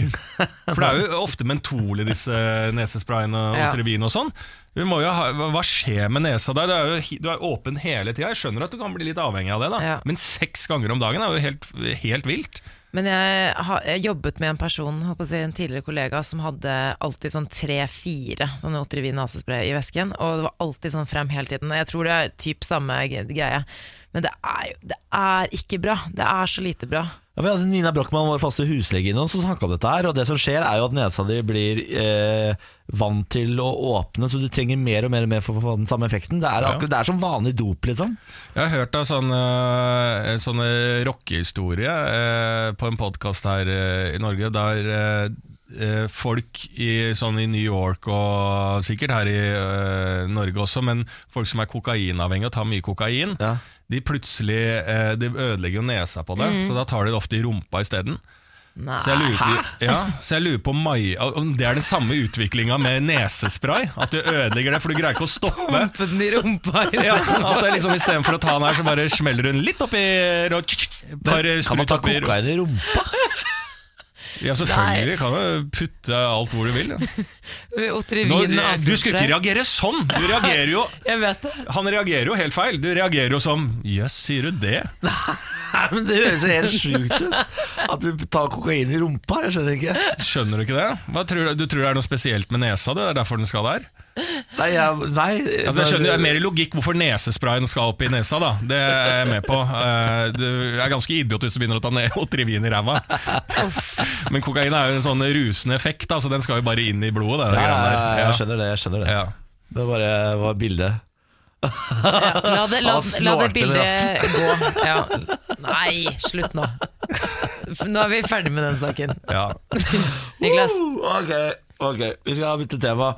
B: For det er jo ofte mentol i disse nesesprayene og
C: Ja.
B: Trevin og sånn. Hun må jo ha, hva- hva skjer med nesa der? Du er jo hi- du er åpen hele tida. Jeg skjønner at du kan bli litt avhengig av det, da.
C: Ja.
B: men seks ganger om dagen er jo helt, helt vilt.
C: Men jeg har jeg jobbet med en person, holdt på å si, en tidligere kollega, som hadde alltid sånn tre-fire sånne Otrivin nesespray i vesken. Og det var alltid sånn frem hele tiden. Og jeg tror det er typ samme g- greie. Men det er, jo- det er ikke bra. Det er så lite bra.
A: Ja, vi hadde Nina Brochmann, vår faste huslege, innom som snakka om dette. her Og Det som skjer, er jo at nesa di blir eh, vant til å åpne, så du trenger mer og mer og mer for å få den samme effekten. Det er, akkurat, det er som vanlig dop, liksom.
B: Jeg har hørt av sånne, en sånn rockehistorie eh, på en podkast her eh, i Norge, der eh, eh, folk i, sånn i New York og sikkert her i eh, Norge også, men folk som er kokainavhengige og tar mye kokain,
A: Ja.
B: de plutselig eh, de ødelegger jo nesa på det, så da tar de det ofte i rumpa isteden.
C: Nei.
B: Så jeg lurer, ja, så jeg lurer på om Mai- om det er den samme utviklinga med nesespray, at du ødelegger det, for du greier ikke å stoppe.
C: Pumpet den i rumpa. i
B: Ja, at det er liksom Istedenfor å ta den her, så bare smeller hun litt oppi og tsk, tsk, par
A: Kan man ta
B: sprut oppi-
A: kokain i rumpa?
B: Ja, selvfølgelig. Kan du putte alt hvor du vil. Ja. Nå,
C: Otrivin
B: nei, du skulle ikke
C: nesespray.
B: reagere sånn! Du reagerer jo
C: Jeg vet det.
B: Han reagerer jo helt feil. Du reagerer jo som Jøss, sier du det?
A: Nei, men Det høres jo helt sjukt ut. At du tar kokain i rumpa, jeg skjønner ikke.
B: Skjønner du ikke det? Hva tror du, du tror det er noe spesielt med nesa? Du? Det er derfor den skal der?
A: Nei, jeg, nei
B: Altså, jeg skjønner det er mer logikk hvorfor nesesprayen skal opp i nesa, da. Det er jeg med på. Eh, Du er ganske idiot hvis du begynner å ta ned Otrivin i ræva. Men kokain er jo en sånn rusende effekt, da, så den skal jo bare inn i blodet.
A: Ja,
B: Det
A: ja,
B: greiene
A: ja,
B: der.
A: jeg skjønner det. jeg skjønner Det
B: Ja.
A: Det bare var bildet.
C: Ja, la det, la,
A: Han
C: la det
A: snorter med
C: bildet gå. Ja. Nei, slutt nå. Nå er vi ferdig med den saken.
B: Ja.
C: Niklas.
A: Uh, ok, ok, vi skal bytte tema.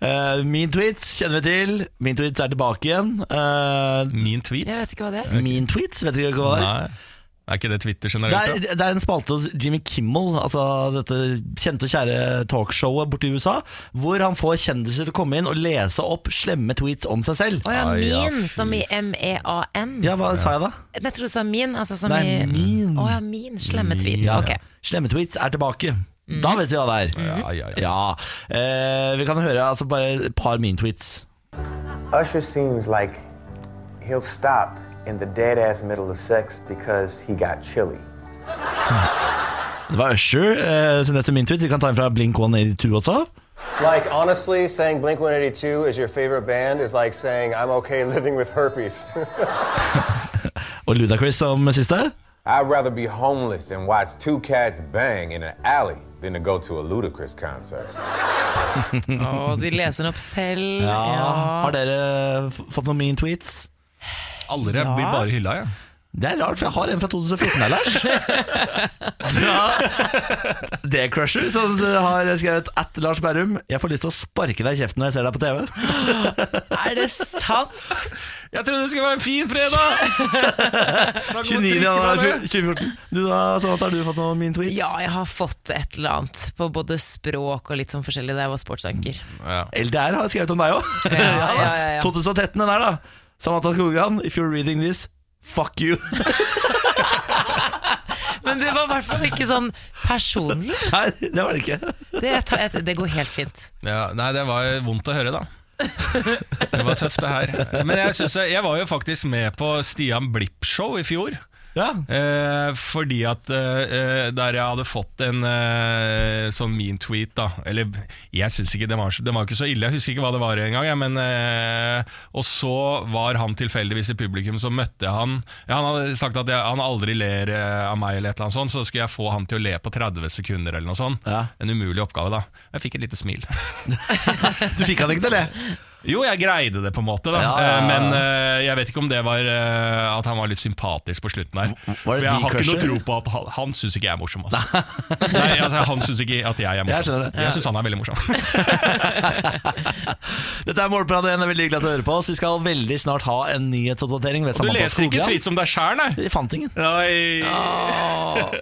A: Eh, min tweets kjenner vi til. Min tweets er tilbake igjen. Eh,
B: Min tweet?
C: Jeg vet ikke hva det er.
A: min tweets, vet dere ikke hva det er?
B: Nei. Er ikke det Twitter
A: Det
B: generelt?
A: er,
B: da?
A: det er en spalte hos Jimmy Kimmel, altså dette kjente og kjære talkshowet borti USA, hvor han får kjendiser til å komme inn og lese opp slemme tweets om seg selv.
C: Å ja,
B: Ai, ja,
C: min,
B: fy.
C: som i M-E-A-N.
A: Ja, hva sa jeg da?
C: Jeg tror du sa min, altså som
A: Nei,
C: i
A: min.
C: Å ja, min. Slemme tweets.
A: Ja,
C: Ok. Mhm.
A: Slemme tweets er tilbake. Da vet vi hva det er.
B: Ja, ja, ja.
A: Ja, eh, vi kan høre altså, bare et par min tweets.
E: Usher seems like he'll stop in the dead ass middle of sex because he got chilly.
A: Det var Usher eh, som leste min tweet. Vi kan ta en fra Blink 182 også.
F: Like, honestly, saying Blink 182 is your favorite band is like saying I'm okay living with herpes.
A: Og Ludacris som siste.
G: I'd rather be homeless and watch two cats bang in an alley than to go to a ludicrous concert.
C: Å, de leser den opp selv. Ja.
A: Har dere f- fått noen min tweets?
B: Aldri. Jeg blir bare hylla, jeg.
A: Det er rart, for jeg har en fra 2014 her, Lars. Fra The Crusher, som har skrevet at Lars Berrum. Jeg får lyst til å sparke deg i kjeften når jeg ser deg på TV.
C: Er det sant?
B: Jeg trodde det skulle være en fin fredag!
A: 29. januar 2014. Du da, Samantha, har du fått noen min tweets?
C: Ja, jeg har fått et eller annet på både språk og litt sånn forskjellig da jeg var sportsanker.
B: Ja.
A: LDR har skrevet om deg òg.
C: Ja, ja, ja, ja.
A: 2013 den her, da. Samantha Skogran, if you're reading this, fuck you.
C: Men det var i hvert fall ikke sånn personlig.
A: Nei, det var det ikke.
C: Det, tar, jeg- det går helt fint.
B: Ja, nei, det var vondt å høre, da. Det var tøft, det her. Men jeg, synes, jeg var jo faktisk med på Stian Blipp-show i fjor.
A: Ja.
B: Eh, fordi at eh, eh, der jeg hadde fått en eh, sånn mean tweet, da Eller jeg syns ikke det var, så- den var ikke så ille, jeg husker ikke hva det var engang. jeg, Men, eh, og så var han tilfeldigvis i publikum, så møtte jeg han. Ja, han hadde sagt at jeg, han aldri ler eh, av meg, eller et eller annet sånt, så skulle jeg få han til å le på 30 sekunder, eller noe sånt.
A: Ja.
B: En umulig oppgave, da. Jeg fikk et lite smil.
A: Du fikk han ikke til å le?
B: Jo, jeg greide det på en måte, da.
A: Ja, ja, ja.
B: Eh, Men eh, jeg vet ikke om det var eh, at han var litt sympatisk på slutten her.
A: var det
B: For jeg har ikke noe
A: de-crusher?
B: tro på at han, han syns ikke jeg er morsom. Altså. Nei, altså, han syns ikke at jeg er morsom.
A: Jeg skjønner det.
B: Jeg syns han er veldig morsom.
A: Dette er Morgenprat 1. Det er veldig hyggelig at du hører på oss. Vi skal veldig snart ha en nyhetsoppdatering ved
B: Du
A: Samantha
B: leser ikke
A: Skogran.
B: tweets om deg sjæl, nei?
A: Jeg fant ingen.
B: Nei.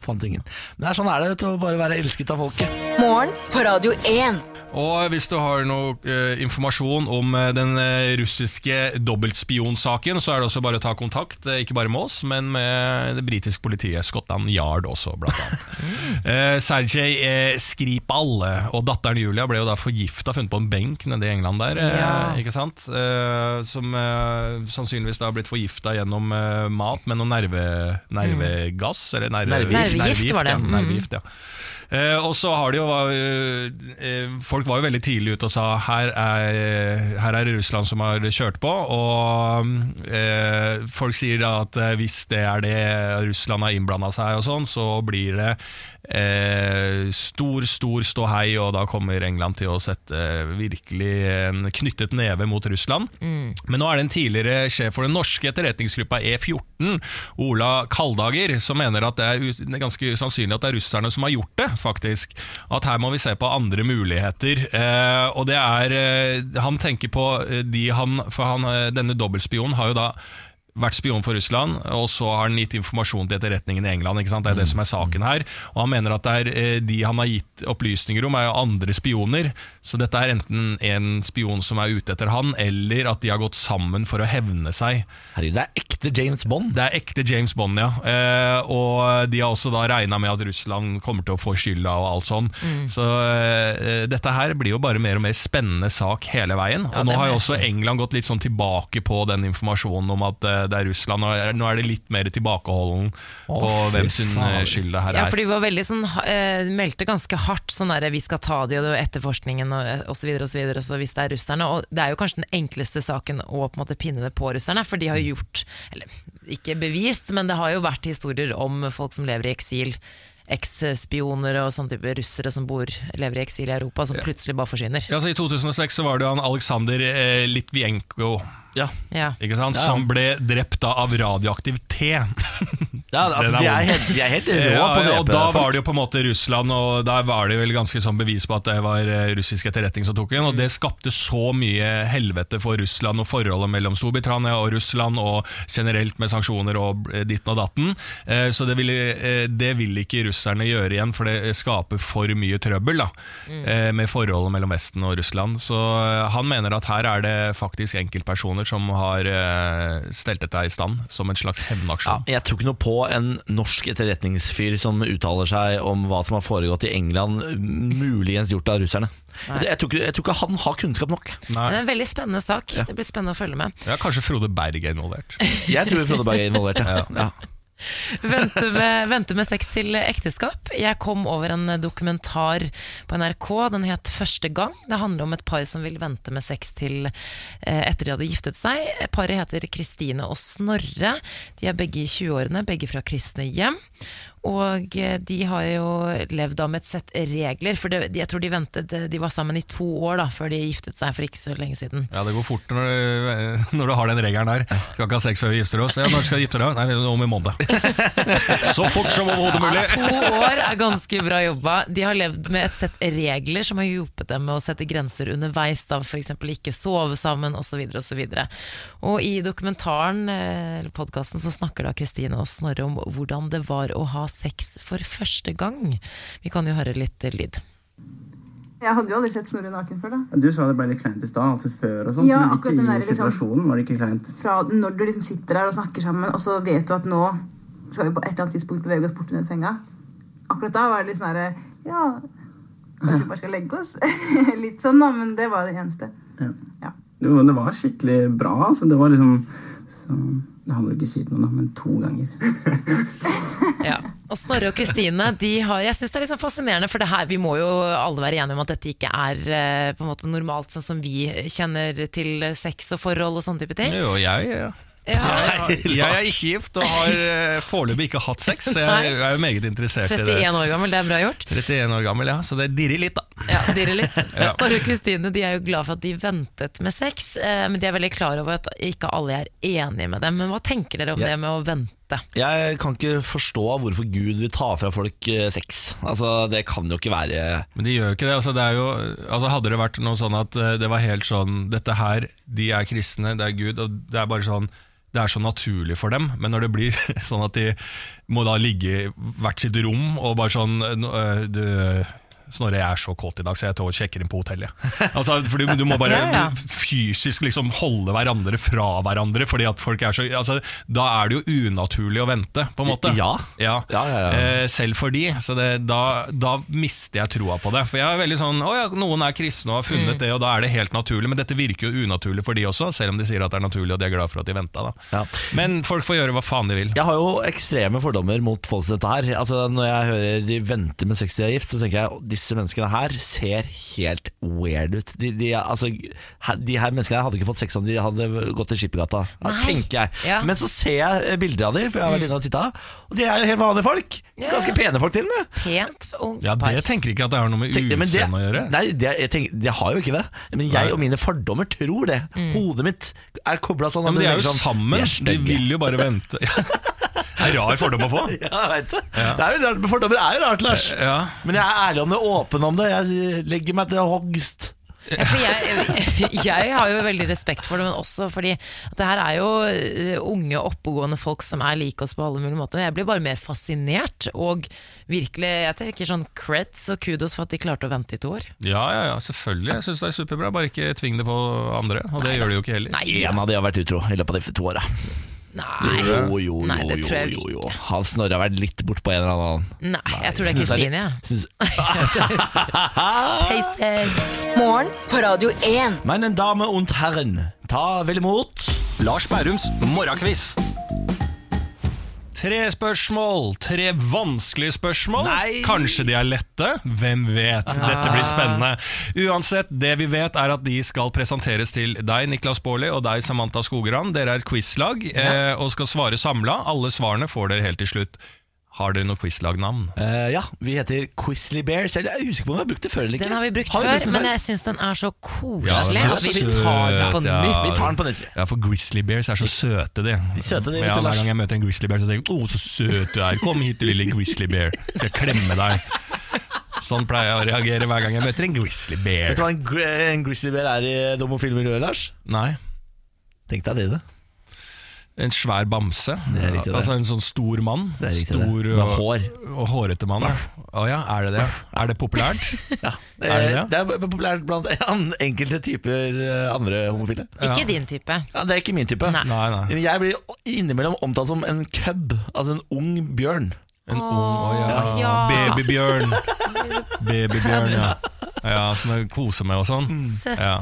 A: Fant ingen. Men det er sånn er det vet du, å bare være elsket av folket.
D: Morgen på Radio 1.
B: Og hvis du har noe eh, informasjon om eh, den eh, russiske dobbeltspionsaken, så er det også bare å ta kontakt, eh, ikke bare med oss, men med det britiske politiet, Scotland Yard også, blant annet. Eh, Sergej eh, Skripal eh, og datteren Julia ble jo da forgifta, funnet på en benk nede i England der, eh,
C: Ja.
B: ikke sant? Eh, som eh, sannsynligvis da har blitt forgifta gjennom eh, mat med noe nerve, nervegass, eller nerve,
A: Nervegift.
C: Nervegift var det.
B: ja,
C: Mm.
B: nervegift, ja. Eh, og så har det jo eh, eh, Folk var jo veldig tidlig ute og sa her er, eh, her er det Russland som har kjørt på. Og eh, folk sier da at eh, hvis det er det Russland har innblanda seg, og sånn, så blir det eh, stor, stor ståhei, og da kommer England til å sette eh, virkelig en knyttet neve mot Russland.
C: Mm.
B: Men nå er det en tidligere sjef for den norske etterretningsgruppa E14, Ola Kaldager, som mener at det er us- det er ganske usannsynlig at det er russerne som har gjort det, faktisk. At her må vi se på andre muligheter. Eh, og det er eh, Han tenker på eh, de han For han, eh, denne dobbeltspionen har jo da vært spion for Russland, og så har han gitt informasjon til etterretningen i England. ikke sant? Det er det som er saken her. Og han mener at det er eh, de han har gitt opplysninger om, er jo andre spioner. Så dette er enten en spion som er ute etter han, eller at de har gått sammen for å hevne seg.
A: Herregud, det er ekte James Bond.
B: Det er ekte James Bond, ja. Eh, og de har også da regna med at Russland kommer til å få skylda og alt sånn.
C: Mm.
B: Så eh, dette her blir jo bare mer og mer spennende sak hele veien. Og nå
C: det
B: har
C: må
B: jo også England gått litt sånn tilbake på den informasjonen om at eh, det er Russland. Og er- nå er det litt mer tilbakeholden på
A: fy
B: hvem sin eh,
A: faen.
B: skyld det her
C: Ja,
B: er.
C: for de var veldig sånn, ha- eh, meldte ganske hardt sånn der, vi skal ta de og det var etterforskningen og, og så videre og så videre, og så hvis det er russerne. Og det er jo kanskje den enkleste saken å på en måte pinne det på russerne, for de har
B: Mm.
C: jo gjort, eller ikke bevist, men det har jo vært historier om folk som lever i eksil. Eks-spioner og sånne type russere som bor, lever i eksil i Europa, som plutselig bare forsvinner.
B: Ja, så I 2006 så var det jo han Aleksandr eh, Litvienko
A: Ja,
C: Ja.
B: ikke sant?
A: Ja.
B: som ble drept da av radioaktiv te.
A: ja altså,
B: Den er
A: de,
B: vond.
A: er helt, de er helt rå på
B: Ja,
A: å
B: og
A: drepe
B: da var
A: folk.
B: det jo på en måte Russland, og der var det vel ganske sånn bevis på at det var eh, russisk etterretning som tok den, og det skapte så mye helvete for Russland og forholdet mellom Storbritannia og Russland, og generelt med sanksjoner og eh, ditten og datten. Eh, Så det vil, eh, det vil ikke russerne gjøre igjen, for det eh, skaper for mye trøbbel da, eh, med forholdet mellom Vesten og Russland. Så eh, han mener at her er det faktisk enkeltpersoner som har eh, stelt dette i stand, som en slags
A: Ja,
B: hevnaksjon.
A: jeg tror ikke noe på en norsk etterretningsfyr som uttaler seg om hva som har foregått i England, muligens gjort av russerne. Jeg, jeg, tror ikke, jeg tror ikke han har kunnskap nok.
C: Men
B: Nei.
C: det er en veldig spennende sak. Det blir spennende å følge med.
B: Ja, kanskje Frode Berg er involvert.
A: Jeg tror Frode Berg er involvert. Ja. Ja.
C: vente, med, vente med sex til ekteskap. Jeg kom over en dokumentar på NRK. Den het Første gang. Det handler om et par som vil vente med sex til eh, etter de hadde giftet seg. Paret heter Kristine og Snorre. De er begge i 20-årene, begge fra kristne hjem. Og eh, de har jo levd da med et sett regler, for det, jeg tror de ventet De var sammen i to år da før de giftet seg for ikke så lenge siden.
B: Ja, Det går fort når du, når du har den regelen der. Skal ikke ha sex før vi gifter oss. Ja, Når skal vi gifte deg? Nei, om en måned. Så fort som overhodet mulig!
C: To år er ganske bra jobba. De har levd med et sett regler som har hjulpet dem med å sette grenser underveis, da f.eks. ikke sove sammen osv. osv. Og i dokumentaren eh, eller podkasten så snakker da Kristine og Snorre om hvordan det var å ha sex for første gang. Vi kan jo høre litt eh, lyd.
H: Jeg hadde jo aldri sett Snorre naken før. da.
I: Du sa det ble litt kleint i stad, altså før og sånn.
H: Ja,
I: men
H: akkurat
I: ikke
H: den der,
I: i
H: liksom.
I: situasjonen var det ikke kleint.
H: Fra når du liksom sitter der og snakker sammen, og så vet du at nå skal vi på et eller annet tidspunkt bevege oss bort under senga. Akkurat da var det litt sånn herre Ja, kanskje vi bare skal legge oss? litt sånn, da, men det var det eneste. Ja.
I: Jo, men det var skikkelig bra. Altså. Det var liksom så, Det handler ikke siden om, da, men to ganger.
C: Ja. Og Snorre og Kristine de har, jeg synes det er liksom fascinerende, for det her, vi må jo alle være enige om at dette ikke er eh, på en måte normalt, sånn som vi kjenner til sex og forhold og sånne type ting.
B: Jo, jeg, ja.
C: Ja,
B: jeg, jeg er ikke gift og har eh, foreløpig ikke hatt sex. Så jeg er jo meget interessert i det.
C: 31 år gammel, det er bra gjort.
B: 31 år gammel, ja. Så det dirrer litt, da.
C: Ja, dirrer litt.
B: Ja.
C: Snorre og Kristine de er jo glad for at de ventet med sex, eh, men de er veldig klar over at ikke alle er enige med dem. Men hva tenker dere om
A: Ja.
C: det med å vente?
A: Jeg kan ikke forstå hvorfor Gud vil ta fra folk eh, sex. Altså, Det kan jo ikke være
B: Men de gjør jo ikke det. Altså, det er jo, altså, hadde det vært noe sånn at eh, det var helt sånn Dette her, de er kristne, det er Gud, og det er bare sånn det er så naturlig for dem, men når det blir sånn at de må da ligge i hvert sitt rom og bare sånn nå, eh, du, Snorre, jeg er så kåt i dag, så jeg tar og sjekker inn på hotellet. Altså, for du, du må bare
C: Ja, ja.
B: fysisk liksom holde hverandre fra hverandre, fordi at folk er så altså, Da er det jo unaturlig å vente, på en måte.
A: Ja.
B: Ja.
A: Ja, ja, ja.
B: Eh, selv for de, så det, da, da mister jeg troa på det. For jeg er veldig sånn, å ja, noen er kristne og har funnet det, og da er det helt naturlig. Men dette virker jo unaturlig for de også, selv om de sier at det er naturlig, og de er glad for at de venta. da.
A: Ja.
B: Men folk får gjøre hva faen de vil.
A: Jeg har jo ekstreme fordommer mot folk som dette her. Altså Når jeg hører de venter med sex til de er gift, så tenker jeg disse menneskene her ser helt weird ut. De, de, er- altså, her- de her menneskene her hadde ikke fått sex om de hadde gått i Skippergata, ja,
C: Nei.
A: tenker jeg.
C: Ja. Mm.
A: Men så ser jeg eh, bilder av dem, for jeg har vært inne og titta, og de er jo helt vanlige folk. Ganske pene folk, til og med.
C: Pent ung
B: Ja,
C: par.
B: Det tenker ikke at det har noe med
A: Tenk- men det-
B: utseendet å gjøre.
A: Nei, det, jeg tenker, det har jo ikke det. Men jeg
B: Nei.
A: og mine fordommer tror det.
C: Mm.
A: Hodet mitt er kobla sånn. at
B: Ja, men de
A: det
B: er jo
A: tenker sånn, De
B: sammen, de
A: er stygge.
B: vil jo bare vente. Det er rar fordom å få.
A: Ja, jeg vet det. det er jo rart, men fordommer er jo rart, Lars.
B: Eh, Ja.
A: Men jeg er ærlig om det, åpen om det. Jeg legger meg til hogst.
C: Ja, for jeg, jeg har jo veldig respekt for det, men også fordi at det her er jo eh, unge, oppegående folk som er like oss på alle mulige måter. Jeg blir bare mer fascinert, og virkelig Jeg tenker sånn creds og kudos for at de klarte å vente i to år.
B: Ja, ja, ja, selvfølgelig. Jeg syns det er superbra. Bare ikke tving det på andre. Og det gjør de jo ikke heller.
C: Nei,
A: En av de har vært utro i løpet av de to åra.
C: nei,
A: Jo, jo, jo,
C: nei, det
A: jo,
C: tror jeg
A: jo,
C: ikke.
A: jo. Han Snorre har vært litt bort på en eller annen.
C: Nei, jeg tror det er
A: Snus litt-
C: Kristine, jeg.
A: snus-
D: Morgen på Radio 1.
A: Meine Dame und Herren, ta vel imot
B: Lars Bærums morgenkviss. Tre spørsmål. Tre vanskelige spørsmål.
A: Nei.
B: Kanskje de er lette? Hvem vet? Dette blir spennende. Uansett, det vi vet er at de skal presenteres til deg, Niklas Baarli, og deg, Samantha Skogran. Dere er et quizlag eh, og skal svare samla. Alle svarene får dere helt til slutt. Har dere noe quizlagnavn?
A: Eh, ja, vi heter Quizly Bears. Eller Jeg er usikker på om vi har brukt det før eller ikke.
C: Den har vi brukt
A: vi
C: før,
A: den
C: men jeg syns den er så koselig
B: Ja, den er
C: at vi
B: så
C: tar den på
B: søt, ja.
C: nytt.
A: Vi tar den på nytt. vi.
B: Ja, for grizzly bears er så søte, de.
A: er søte, de, vet
B: ja,
A: du,
B: hver
A: Lars.
B: gang jeg møter en grizzly bear, så tenker jeg 'Å, så søt du er'. Kom hit, du lille grizzly bear. Skal jeg klemme deg. Sånn pleier jeg å reagere hver gang jeg møter en grizzly
A: Vet du
B: bear.
A: hva en, gri- en Grizzly Bear er i det homofile miljøet, Lars?
B: Nei,
A: Tenk deg det, det.
B: en svær bamse.
A: Det er riktig, det.
B: Altså en sånn stor mann.
A: Det er riktig,
B: stor
A: det. Med
B: og-
A: hår.
B: Og hårete mann. ja. Å ja, er det det? Er det populært?
A: Ja.
B: Er det
A: Eh, det er populært blant an- enkelte typer eh, andre homofile.
C: Ikke din type.
A: Ja, det er ikke min type.
C: Nei.
B: Nei, nei.
A: Men Jeg blir innimellom omtalt som en cub, altså en ung bjørn.
B: En ung å
C: Åh,
B: ja.
C: ja.
B: Babybjørn. Babybjørn, ja. ja. Som jeg koser med og sånn.
A: Mm.
C: Søtt.
B: Ja.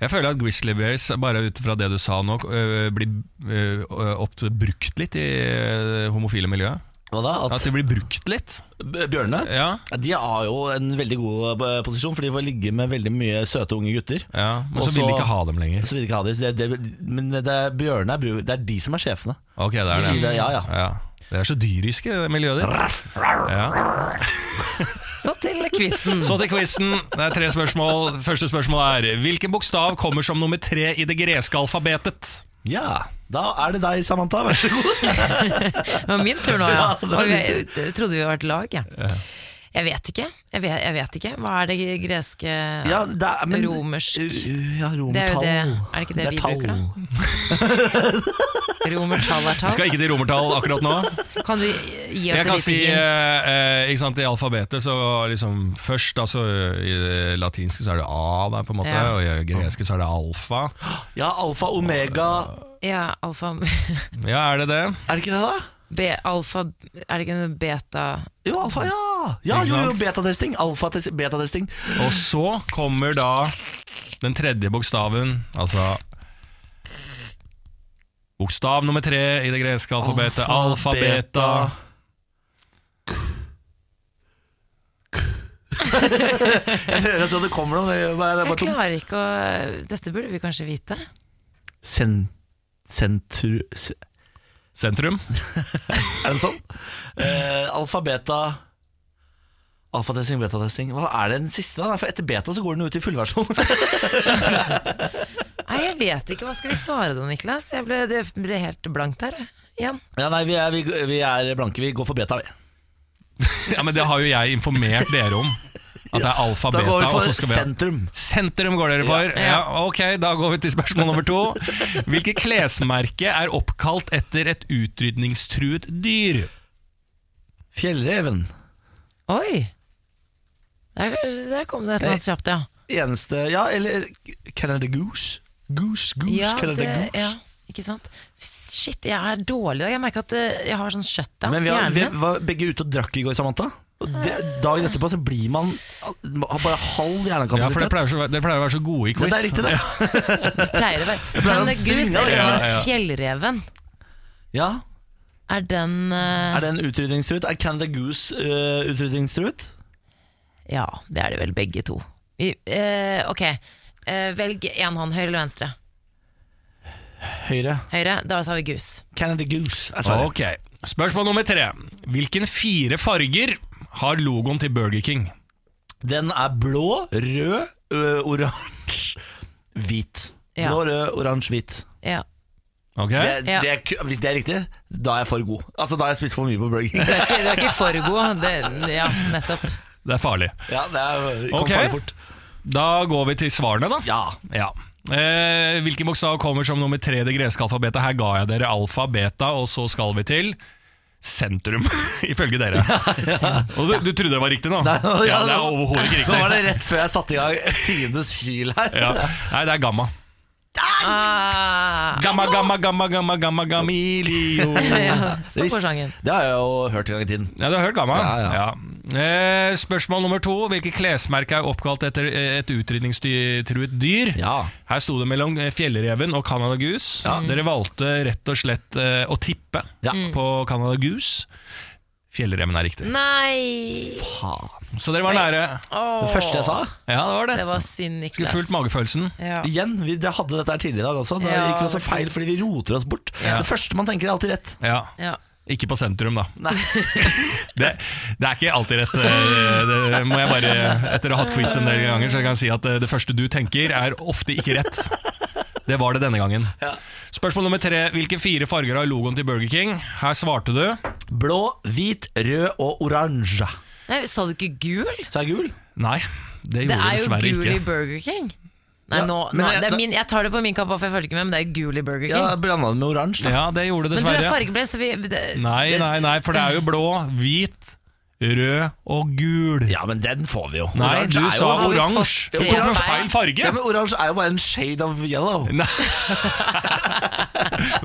B: Jeg føler at Grizzly Bears, bare ut fra det du sa nå, øh, blir øh, ofte brukt litt i øh, homofile miljøet.
A: Hva da? At
B: At de blir brukt litt.
A: b- bjørnene
B: Ja,
A: ja, De har jo en veldig god eh, posisjon, for de får ligge med veldig mye søte unge gutter.
B: ja. Men så
A: Også-
B: vil de ikke ha dem lenger.
A: Så vil de ikke ha de. Det, det, men det er bjørnene er, bru- det er de som er sjefene.
B: Ok, det er det.
A: Ja, ja.
B: Det er så dyriske, det miljøet ditt. Ja.
C: Så til quizen.
B: Så til quizen. Det er tre spørsmål. Første spørsmål er hvilken bokstav kommer som nummer tre i det greske alfabetet?
A: Ja, da er det deg, Samantha. Vær så god.
C: Det var min tur nå, ja.
A: Ja, det var
C: Og
A: din
C: jeg, jeg trodde vi var et lag, jeg. Jeg vet ikke. Jeg vet, jeg vet ikke. Hva er det greske
A: Ja, det er, men, Eh,
C: Romersk.
A: Ja,
C: Det er jo
A: romertall.
C: det. Er det ikke det,
A: Det er
C: vi
A: tall.
C: bruker, da? Romertall er
B: Vi
C: tall.
B: skal ikke til romertall akkurat nå.
C: Kan du gi
B: Jeg
C: oss et
B: kan
C: lite
B: si,
C: hint?
B: eh, eh, ikke sant, I alfabetet så liksom først altså, I det latinske så er det A, der, på en måte
C: Ja.
B: og i det greske så er det alfa.
A: Ja, alfa, omega
C: Ja, alfa
B: Ja, er det det?
A: Er det ikke det, da?
C: be, Alfa Er det ikke en beta
A: Jo, alfa, ja! Ja,
B: Ikke
A: jo, jo,
B: sant?
A: betatesting. Alfa-betatesting.
B: Og så kommer da Den tredje bokstaven, altså Bokstav nummer tre i det greske alfabetet. Alfa, beta.
A: Jeg hører at det kommer noe, det er bare, det er
C: Jeg
A: bare tomt.
C: klarer ikke å Dette burde vi kanskje vite.
A: Sen, sentru... se-
B: Sentrum.
A: Er det sånn? Eh, alfa, beta Alfatesting, betatesting. Hva er det den siste? da? For etter beta så går den ut i fullversjon.
C: Nei, jeg vet ikke. Hva skal vi svare da, Niklas? Jeg ble, det ble helt blankt her. Igjen.
A: ja, nei, vi er, vi, vi er blanke. Vi går for beta, vi.
B: Ja, men det har jo jeg informert dere om. At det er alfa,
A: Da
B: beta,
A: går vi
B: og
A: for
B: så skal vi
A: sentrum.
B: Sentrum går dere for.
C: Ja.
B: Ja, ok, Da går vi til spørsmål nummer to. Hvilket klesmerke er oppkalt etter et utrydningstruet dyr?
A: Fjellreven.
C: Oi! Der, der kom det et eller annet kjapt, ja.
A: Eneste Ja, eller Canada Goose. Goose, goose,
C: ja,
A: Canada
C: det-
A: Goose.
C: ja ikke sant? Shit, jeg er dårlig i dag. Jeg merker at eh, jeg har sånn shutdown
A: Men
C: i
A: vi, har,
C: hjernen
A: vi
C: min.
A: var begge ute og drakk i går, Samantha. Og det, dagen etterpå så blir man har bare halv
B: Ja, for Dere
A: hjernekapasitet.
B: pleier, så, dere pleier å være så gode i
A: Ja,
B: quiz.
A: det er riktig, det.
C: Pleier å være.
A: pleier å
C: Men det er gus,
A: svinge,
C: eller
B: ja,
C: den
B: ja.
C: fjellreven,
A: Ja,
C: er den eh,
A: Er det en utrydningstruet? Er Canada Goose eh, utrydningstruet?
C: Ja, det er de vel begge to. Vi, eh, ok, Eh, velg én hånd, høyre eller venstre?
A: Høyre.
C: Høyre, da sa vi gus.
A: Canada Goose er svaret.
B: Ok, Spørsmål nummer tre. Hvilken fire farger har logoen til Burger King?
A: Den er blå, rød, ø, oransje, hvit.
C: Ja.
A: Blå, rød, oransje, hvit.
C: Ja.
B: Ok?
A: Det,
C: Ja.
A: det er, ku- hvis det er riktig, da er jeg for god. Altså, da har jeg spist for mye på Burger King.
C: Du er ikke, du er ikke for god. Det, ja, nettopp.
B: Det er farlig.
A: Ja, det er, kom
B: Ok.
A: farlig fort.
B: Da går vi til svarene, da.
A: Ja.
B: Ja. Eh, hvilken bokstav kommer som nummer tre i det greske alfabetet? Her ga jeg dere alfa, beta, og så skal vi til sentrum, ifølge dere. Og du, du trodde det var riktig nå? ja, det er overhodet ikke
A: Nå var det
B: riktig.
A: rett før jeg satte i gang tidenes hyl her.
B: Ja. Nei, det er gamma.
C: Ah,
B: Gamma, gamma, gamma, gamma, gamma, gamilio.
C: ja. Stå på sangen.
A: Det har jeg jo hørt en gang i tiden.
B: Ja, du har hørt gamma?
A: Ja, ja.
B: Eh, spørsmål nummer to. Hvilket klesmerke er oppkalt etter eh, et utrydningstruet dyr?
A: Ja.
B: Her sto det mellom eh, fjellreven og Canada Goose. Mm. Dere valgte rett og slett eh, å tippe
A: Ja.
B: på Canada Goose. Fjellreven er riktig.
C: Nei!
B: Så dere var nære.
A: Det første jeg sa
B: Ja, det var Mm. det.
C: Det var synd, Niklas.
B: Skulle fulgt magefølelsen.
C: Ja.
A: Igjen, vi det hadde dette her tidligere i dag også. Det
C: Ja,
A: gikk jo også feil fordi vi roter oss bort.
B: Ja.
A: Det første man tenker, er alltid rett.
B: Ja.
C: Ja.
B: Ikke på sentrum, da.
A: Nei.
B: Det, det er ikke alltid rett. eh, Det må jeg bare, etter å ha hatt quiz en del ganger, så jeg kan si at eh, det første du tenker, er ofte ikke rett. Det var det denne gangen. Spørsmål nummer tre. Hvilke fire farger har logoen til Burger King? Her svarte du
A: Blå, hvit, rød og oransje.
C: Nei, Sa du ikke gul?
A: Så er jeg gul.
B: Nei, det
C: Det
B: gjorde
C: er
B: jeg
C: jo
B: dessverre
C: gul
B: ikke.
C: i Burger King. Nei,
A: Ja,
C: nå,
A: men
C: nå,
A: jeg-
C: det er
A: da-
C: min, jeg tar det på min kappe, for jeg følger ikke med, men det er gul i Burger King.
A: Ja, Blanda den med oransje. da.
B: Ja, det gjorde det
C: men du
B: dessverre.
C: er fargeblind, så vi det,
B: Nei, nei, nei, for det er jo blå, hvit, rød og gul.
A: Ja, men den får vi jo.
B: Nei,
A: Oransje
B: du
A: er
B: sa
A: jo,
B: oransje.
C: Ja,
B: Du tok
C: nei.
B: med feil farge.
A: ja, men Oransje er jo bare en shade of yellow.
B: Du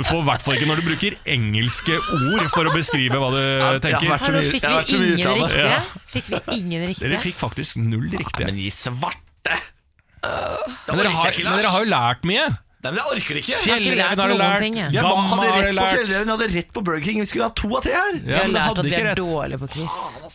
B: får i hvert fall ikke når du bruker engelske ord for å beskrive hva du
A: jeg
B: tenker.
A: har vært så
C: Hallo,
A: mye-
C: fikk
A: jeg har vært
C: vi
A: så mye
C: ingen
A: utlandet.
C: riktige?
B: Ja.
C: Fikk vi ingen riktige?
B: Dere fikk faktisk null riktig.
A: Men i svarte! Da
B: Men dere,
A: orker
B: har,
A: jeg ikke,
B: men
A: Lars.
B: dere har jo lært mye.
A: Nei, men jeg orker ikke.
C: Fjell-
B: Fjellreven
C: lært
B: har du
C: noen
B: lært,
C: ting, jeg.
A: Jeg var,
B: gamma
A: hadde
B: har
A: rett
B: dere
A: på
B: lært.
A: Fjellreven, jeg hadde rett på Burger King. Vi skulle ha to av tre her.
C: Vi
B: Ja,
C: har
B: men det
C: lært
B: hadde
C: at vi
B: ikke rett.
C: er dårlige på quiz.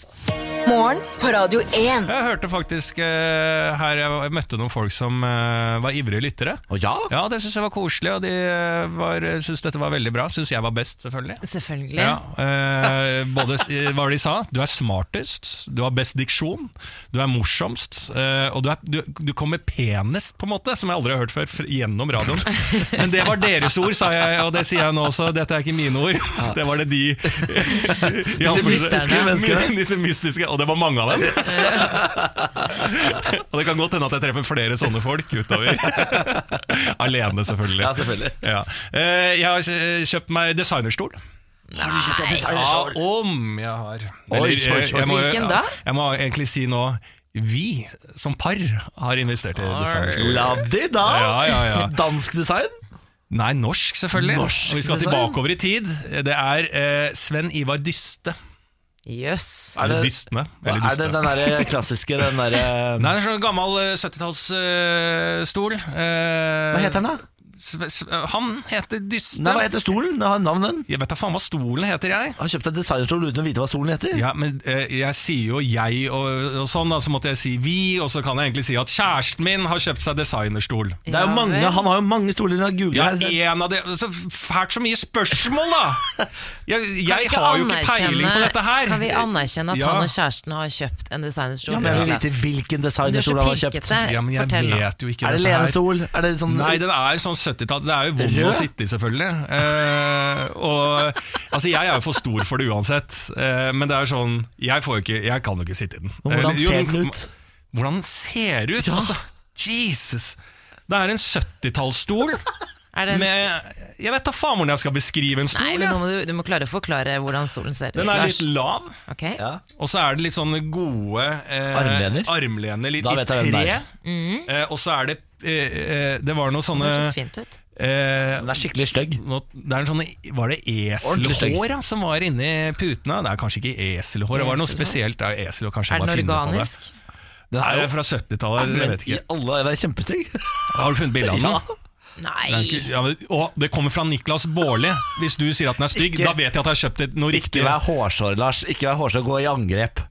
D: Morgen på Radio 1.
B: Jeg hørte faktisk eh, her jeg var- jeg møtte noen folk som eh, var ivrige lyttere.
A: Å ja?
B: Ja, det syns jeg var koselig, og de eh, var, syntes dette var veldig bra. Syns jeg var best, selvfølgelig.
C: Selvfølgelig.
B: Ja, eh, både s- eh, hva var det de sa? Du er smartest, du har best diksjon, du er morsomst, eh, og du, er, du, du kommer penest, på en måte, som jeg aldri har hørt før, fr- gjennom radioen. Men det var deres ord, sa jeg, og det sier jeg nå også, dette er ikke mine ord. Det var det de i anførsel-
A: mystiske menneskene.
B: sånn. Disse mystiske, og det var mange av dem. Og det kan godt hende at jeg treffer flere sånne folk utover. Alene, selvfølgelig.
A: Ja, selvfølgelig.
B: Ja. Eh, Jeg har eh, kjøpt meg designerstol.
A: Har du kjøpt deg
B: Ja,
A: designerstål?
B: Ah, om jeg har
A: Oi, oi,
B: Eller,
A: oi.
B: eh, jeg må,
C: Hvilken da?
B: Jeg må egentlig si nå Vi som par har investert i designerstol
A: Laddi, da.
B: Ja, ja, ja.
A: Dansk design.
B: Nei, norsk selvfølgelig
A: Norsk liksom.
B: Og vi skal
A: design.
B: tilbake over i tid Det er eh, Sven Ivar Dyste
C: Jøss.
A: Er det,
B: Eller dystene.
A: er
B: Eller
A: det
B: dystene.
A: den der klassiske den derre
B: Nei, det er sånn gammel eh, 70-tallsstol.
A: Hva heter den, da?
B: den? eh, Han heter Dyste.
A: Nei, hva heter stolen? Den Har navn, den?
B: Jeg vet da faen hva stolen heter, jeg.
A: Har kjøpt en designerstol uten å vite hva stolen heter?
B: Ja, men eh, jeg sier jo jeg og, og sånn, da, så måtte jeg si vi, og så kan jeg egentlig si at kjæresten min har kjøpt seg designerstol.
A: Det er jo
C: Ja,
A: mange,
C: vel.
A: han har jo mange stoler han har
B: Ja,
A: googlet her.
B: en av de, så fælt så mye spørsmål, da! Jeg,
C: Kan vi
B: jeg
C: ikke
B: har jo ikke
C: anerkjenne-
B: peiling på dette her.
C: Kan vi anerkjenne at
B: Ja.
C: han og kjæresten har kjøpt en designerstol?
A: Ja, men jeg vil
C: Niklas?
A: vite hvilken
C: Du er så
A: designerstol han har kjøpt.
C: pirkete.
B: Ja, men jeg
C: Fortell nå.
B: vet jo ikke
A: Er det
B: dette her.
A: lenestol? Er det sånn
B: Nei, den er sånn 70-tall. Det er jo vond å
A: Rød?
B: sitte i, selvfølgelig. Eh, og, altså, jeg er jo for stor for det uansett. Eh, men det er sånn Jeg, får jo ikke, jeg kan jo ikke sitte i den.
A: Men hvordan
B: Eller, jo,
A: ser den ut?
B: Hvordan ser den ut?
A: Ja.
B: Altså, Jesus! Det er en 70-tallsstol
C: Er det en-
B: med Jeg vet da faen hvordan jeg skal beskrive en
C: Nei,
B: stol.
C: men nå
B: jeg.
C: må du, du må klare å forklare hvordan stolen ser ut.
B: Den er
C: Lars.
B: litt lav,
C: Ok.
B: og så er det litt sånne gode eh,
A: Armlener?
B: armlener litt,
A: Da
B: i
A: vet jeg hvem
B: tre.
A: det er. Mm.
B: Eh, og så er det eh, eh, Det var noe sånne
C: Det høres fint ut.
B: eh,
A: Den er skikkelig stygg.
B: nå, det er en sånn, Var det
A: Ordentlig stygg.
B: eselhår ja, som var inni putene? Det er kanskje ikke eselhår, det var noe
C: Eselhår?
B: spesielt. Det er, jo eselhår, kanskje
C: Er den
B: jeg bare har funnet på
C: organisk?
B: Det Nei, det er fra 70-tallet, jeg vet
A: i
B: ikke.
A: alle Den er kjempestygg.
B: Har du funnet bilde av den?
A: Ja.
B: Det er
C: Nei.
B: ikke- Ja, men, å, det kommer fra Niklas Baarli. Hvis du sier at den er stygg,
A: Ikke-
B: da vet jeg at jeg har kjøpt et, noe
A: Ikke
B: riktig.
A: vær hårsår, Lars. Ikke vær hårsår, gå i angrep.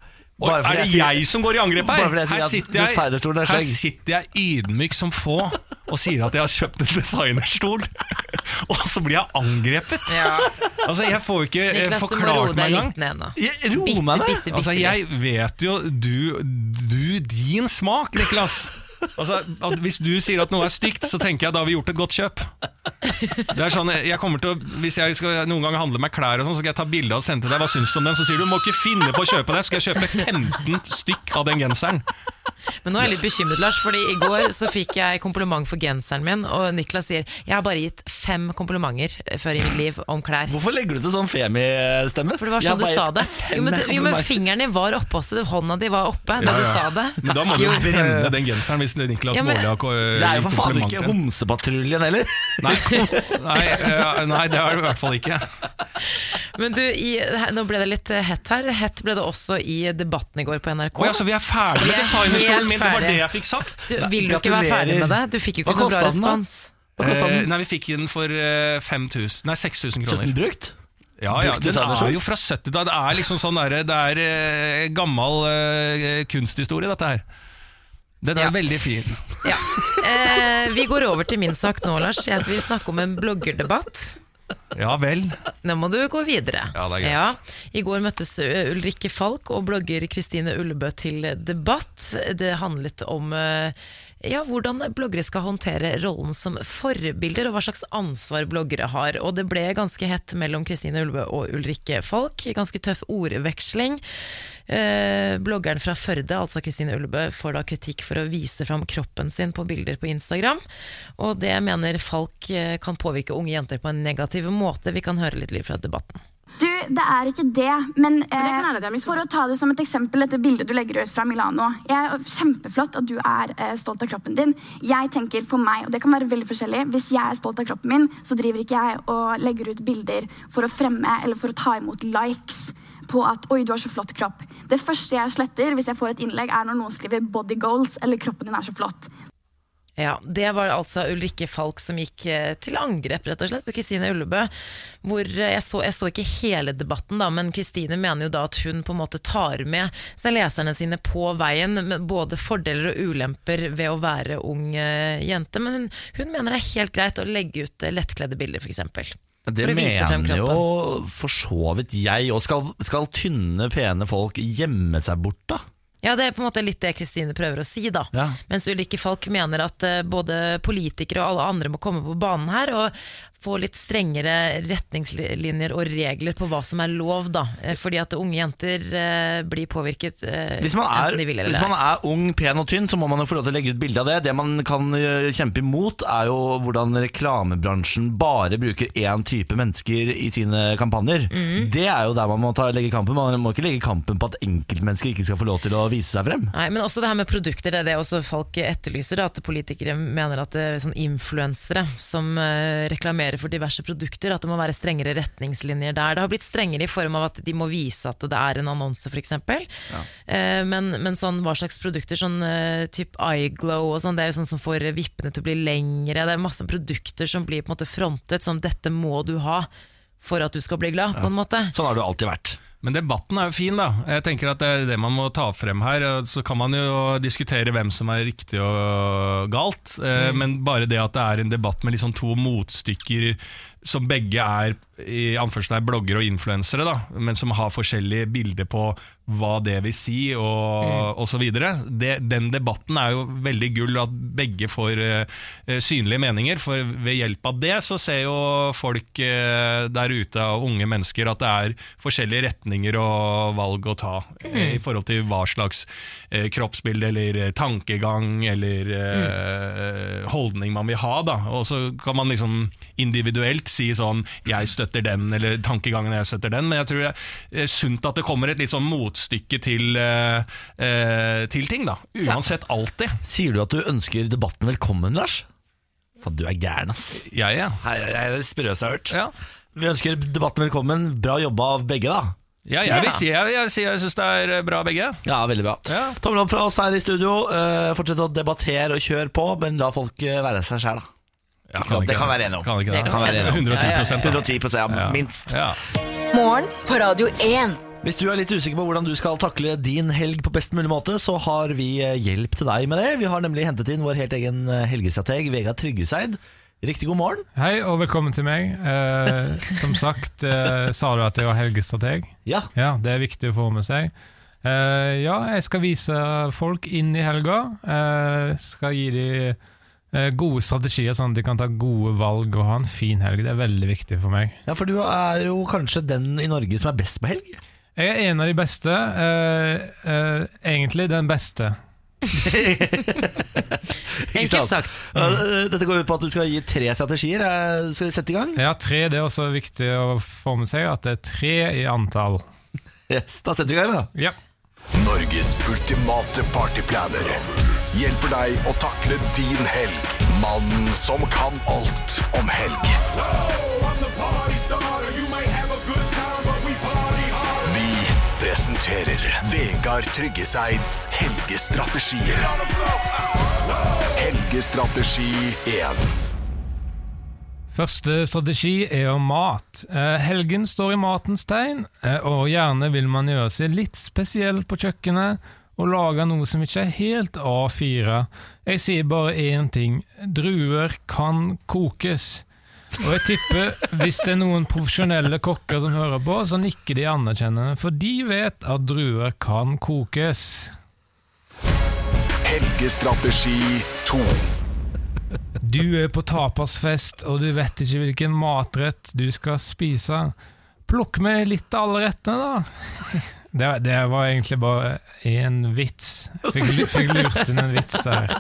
B: Og
A: Bare
B: er
A: fordi
B: det
A: sier-
B: jeg som går i angrep
A: Bare
B: her?
A: fordi jeg sier
B: Her
A: at
B: sitter jeg,
A: designerstolen er
B: her
A: stygg.
B: sitter jeg ydmyk som få og sier at jeg har kjøpt en designerstol, og så blir jeg angrepet.
C: Ja.
B: Altså, Jeg får jo ikke eh,
C: Niklas, du må roe
B: forklart meg
C: deg
B: engang.
C: litt ned nå.
A: Jeg- Ro
C: Bitte,
A: meg
C: bitte,
A: ned!
C: bitte.
B: Altså, jeg vet jo du, du din smak, Niklas. Altså, at hvis du sier at noe er stygt, så tenker jeg da har vi gjort et godt kjøp. Det er sånn, jeg kommer til å, Hvis jeg skal noen gang handle meg klær, og sånn, så skal jeg ta bilde og sende til deg. Hva syns du om den? Så sier du må ikke finne på å kjøpe den. Så skal jeg kjøpe 15 stykk av den genseren.
C: Men nå er jeg litt bekymret, Lars, fordi i går så fikk jeg kompliment for genseren min, og Niklas sier jeg har bare gitt fem komplimenter før i mitt liv om klær.
A: Hvorfor legger du til sånn Femi-stemme?
C: For det var
A: Jeg
C: sånn du
A: bare
C: sa
A: gitt
C: det.
A: fem
C: Jo, men, du, jo, men
A: komplimenter.
C: fingeren din var oppe også, det- hånda di var oppe da
B: Ja,
C: du
B: ja.
C: sa det.
B: Men da må du brenne den genseren hvis Niklas
C: Ja, men-
B: Baarli har ko-
A: Det er jo for faen ikke
B: komplimenter.
A: Homsepatruljen heller.
B: Nei, nei, eh, nei, det er det i hvert fall ikke.
C: Men du, i, her- nå ble det litt eh, hett her. Hett ble det også i debatten i går på NRK.
B: Å ja, så vi er ferdige
C: Vi
B: med
C: er helt
B: designerstolen min! Det var
C: ferdige.
B: det jeg fikk sagt.
C: du, vil du ikke være ferdig med det? Du fikk jo
A: Hva
C: ikke noe bra
A: kostet den da?
C: respons.
A: Hva kosta
B: Eh,
A: den?
B: nei, vi fikk den for eh, 5000 Nei, 6000
A: Kjøpte
B: kroner.
A: den brukt?
B: Ja, ja,
A: brukte
B: den
A: designer
B: er jo fra 70 da. Det er liksom sånn derre Det er eh, gammal eh, kunsthistorie, dette her. Den er
C: Ja.
B: veldig fin.
C: Ja. Eh, vi går over til min sak nå, Lars. Jeg vil snakke om en bloggerdebatt.
B: Ja vel.
C: Nå må du gå videre.
B: Ja, det er greit.
C: I går møttes ø, Ulrikke Falk og blogger Kristine Ullebø til debatt. Det handlet om ø, ja, hvordan bloggere skal håndtere rollen som forbilder, og hva slags ansvar bloggere har. Og det ble ganske hett mellom Kristine Ullebø og Ulrikke Falk. Ganske tøff ordveksling. Eh, bloggeren fra Førde, altså Kristine Ullebø, får da kritikk for å vise fram kroppen sin på bilder på Instagram. Og det mener Falk eh, kan påvirke unge jenter på en negativ måte. Vi kan høre litt lyd fra debatten.
J: Du, det er ikke det, men eh, for å ta det som et eksempel, dette bildet du legger ut fra Milano. Jeg er Kjempeflott at du er eh, stolt av kroppen din. Jeg tenker for meg, og det kan være veldig forskjellig, hvis jeg er stolt av kroppen min, så driver ikke jeg og legger ut bilder for å fremme eller for å ta imot likes på at oi, du har så flott kropp. Det første jeg sletter hvis jeg får et innlegg, er når noen skriver 'body goals' eller 'kroppen din er så flott'.
C: Ja, Det var altså Ulrikke Falk som gikk eh, til angrep rett og slett på Kristine Ullebø. Hvor eh, jeg, så, jeg så ikke hele debatten, da, men Kristine mener jo da at hun på en måte tar med seg leserne sine på veien. Med både fordeler og ulemper ved å være ung eh, jente. Men hun, hun mener det er helt greit å legge ut eh, lettkledde bilder, f.eks.
A: Det
C: For å vise frem
A: mener jo for så vidt jeg òg. Skal, skal tynne, pene folk gjemme seg bort, da?
C: Ja, det er på en måte litt det Kristine prøver å si, da.
A: Ja.
C: Mens Ulrikke Falk mener at eh, både politikere og alle andre må komme på banen her og få litt strengere retningslinjer og regler på hva som er lov, da. Eh, Fordi at unge jenter eh, blir påvirket eh,
A: Hvis man, er,
C: enten de vil eller
A: hvis man
C: ei.
A: er ung, pen og tynn, så må man jo få lov til å legge ut bilde av det. Det man kan eh, kjempe imot, er jo hvordan reklamebransjen bare bruker én type mennesker i sine kampanjer.
C: Mhm.
A: Det er jo der man må ta, legge kampen. Man må ikke legge kampen på at enkeltmennesker ikke skal få lov til å vise seg frem.
C: Nei, men også det her med produkter, det er det også folk etterlyser. da, At politikere mener at eh, sånn influensere som eh, reklamerer reklamere for diverse produkter, at det må være strengere retningslinjer der. Det har blitt strengere i form av at de må vise at det er en annonse, f.eks.
K: Ja.
C: Eh, Men, men sånn, hva slags produkter, sånn eh, typ eyeglow og sånn, det er jo sånn som får vippene til å bli lengre. Det er masse produkter som blir på en måte frontet som dette må du ha for at du skal bli glad, på en måte.
A: Sånn har du alltid vært.
L: Men debatten er jo fin, da. Jeg tenker at det er det man må ta frem her. Så kan man jo diskutere hvem som er riktig og galt, eh,
M: Mm.
L: men bare det at det er en debatt med liksom to motstykker som begge er i anførselstegn blogger og influensere, da, men som har forskjellige bilder på hva det vil si, og, og så videre. Det, den debatten er jo veldig gull, at begge får eh, eh, synlige meninger. For ved hjelp av det så ser jo folk eh, der ute, og unge mennesker, at det er forskjellige retninger og valg å ta eh,
M: Mm.
L: i forhold til hva slags eh, kroppsbilde eller eh, tankegang eller eh, holdning man vil ha. Da. Og så kan man liksom individuelt si sånn 'jeg støtter den', eller 'tankegangen jeg støtter den', men jeg tror det er eh, sunt at det kommer et litt sånn motstykke til, eh, eh, til ting, da. Uansett alltid.
A: Sier du at du ønsker debatten velkommen, Lars? Faen, du er gæren, ass.
L: Jeg, ja.
A: Jeg er det sprøeste jeg har hørt.
L: Ja.
A: Vi ønsker debatten velkommen. Bra jobba av begge, da.
L: Ja, jeg vil si jeg, jeg, jeg syns det er eh, bra, begge.
A: Ja, veldig bra. Tommel opp fra oss her i studio. Eh, Fortsett å debattere og kjøre på, men la folk eh, være seg sjæl, da. Ikke sant? det kan være enig om.
L: Kan ikke det?
A: Det kan være enig om.
L: 110 da.
A: 110 ja,
L: Ja.
A: minst.
L: Ja.
D: Morgen på Radio 1.
A: Hvis du er litt usikker på hvordan du skal takle din helg på best mulig måte, så har vi eh, hjelp til deg med det. Vi har nemlig hentet inn vår helt egen eh, helgestrateg, Vegard Tryggeseid. Riktig god morgen.
B: Hei og velkommen til meg. Eh, som sagt, eh, sa du at jeg var helgestrateg?
A: Ja.
B: Det er viktig å få med seg. Eh, ja, jeg skal vise folk inn i helga. Eh, skal gi dem eh, gode strategier, sånn at de kan ta gode valg og ha en fin helg. Det er veldig viktig for meg.
A: Ja, For du er jo kanskje den i Norge som er best på helg?
B: Jeg er en av de beste. eh, eh, egentlig den beste.
A: Ikke sant? Ja, eh, Dette går ut på at du skal gi tre strategier. Eh, Skal vi sette i gang?
B: Ja, tre det er også viktig å få med seg, at det er tre i antall.
A: Yes, da setter vi i gang, da.
B: Ja.
N: Norges ultimate partyplaner hjelper deg å takle din helg. Mannen som kan alt om helg. Vi presenterer Vegard Tryggeseids helgestrategier. Helgestrategi 1.
B: Første strategi er jo mat. Eh, helgen står i matens tegn, eh, og gjerne vil man gjøre seg litt spesiell på kjøkkenet og lage noe som ikke er helt A4. Jeg sier bare én ting. Druer kan kokes. Og jeg tipper, hvis det er noen profesjonelle kokker som hører på, så nikker de anerkjennende, for de vet at druer kan kokes.
N: Helgestrategi 2.
B: Du er på tapasfest, og du vet ikke hvilken matrett du skal spise. Plukk med litt av alle rettene, da. Det, det var egentlig bare én vits. Fikk, lu- fikk lurt inn en vits der.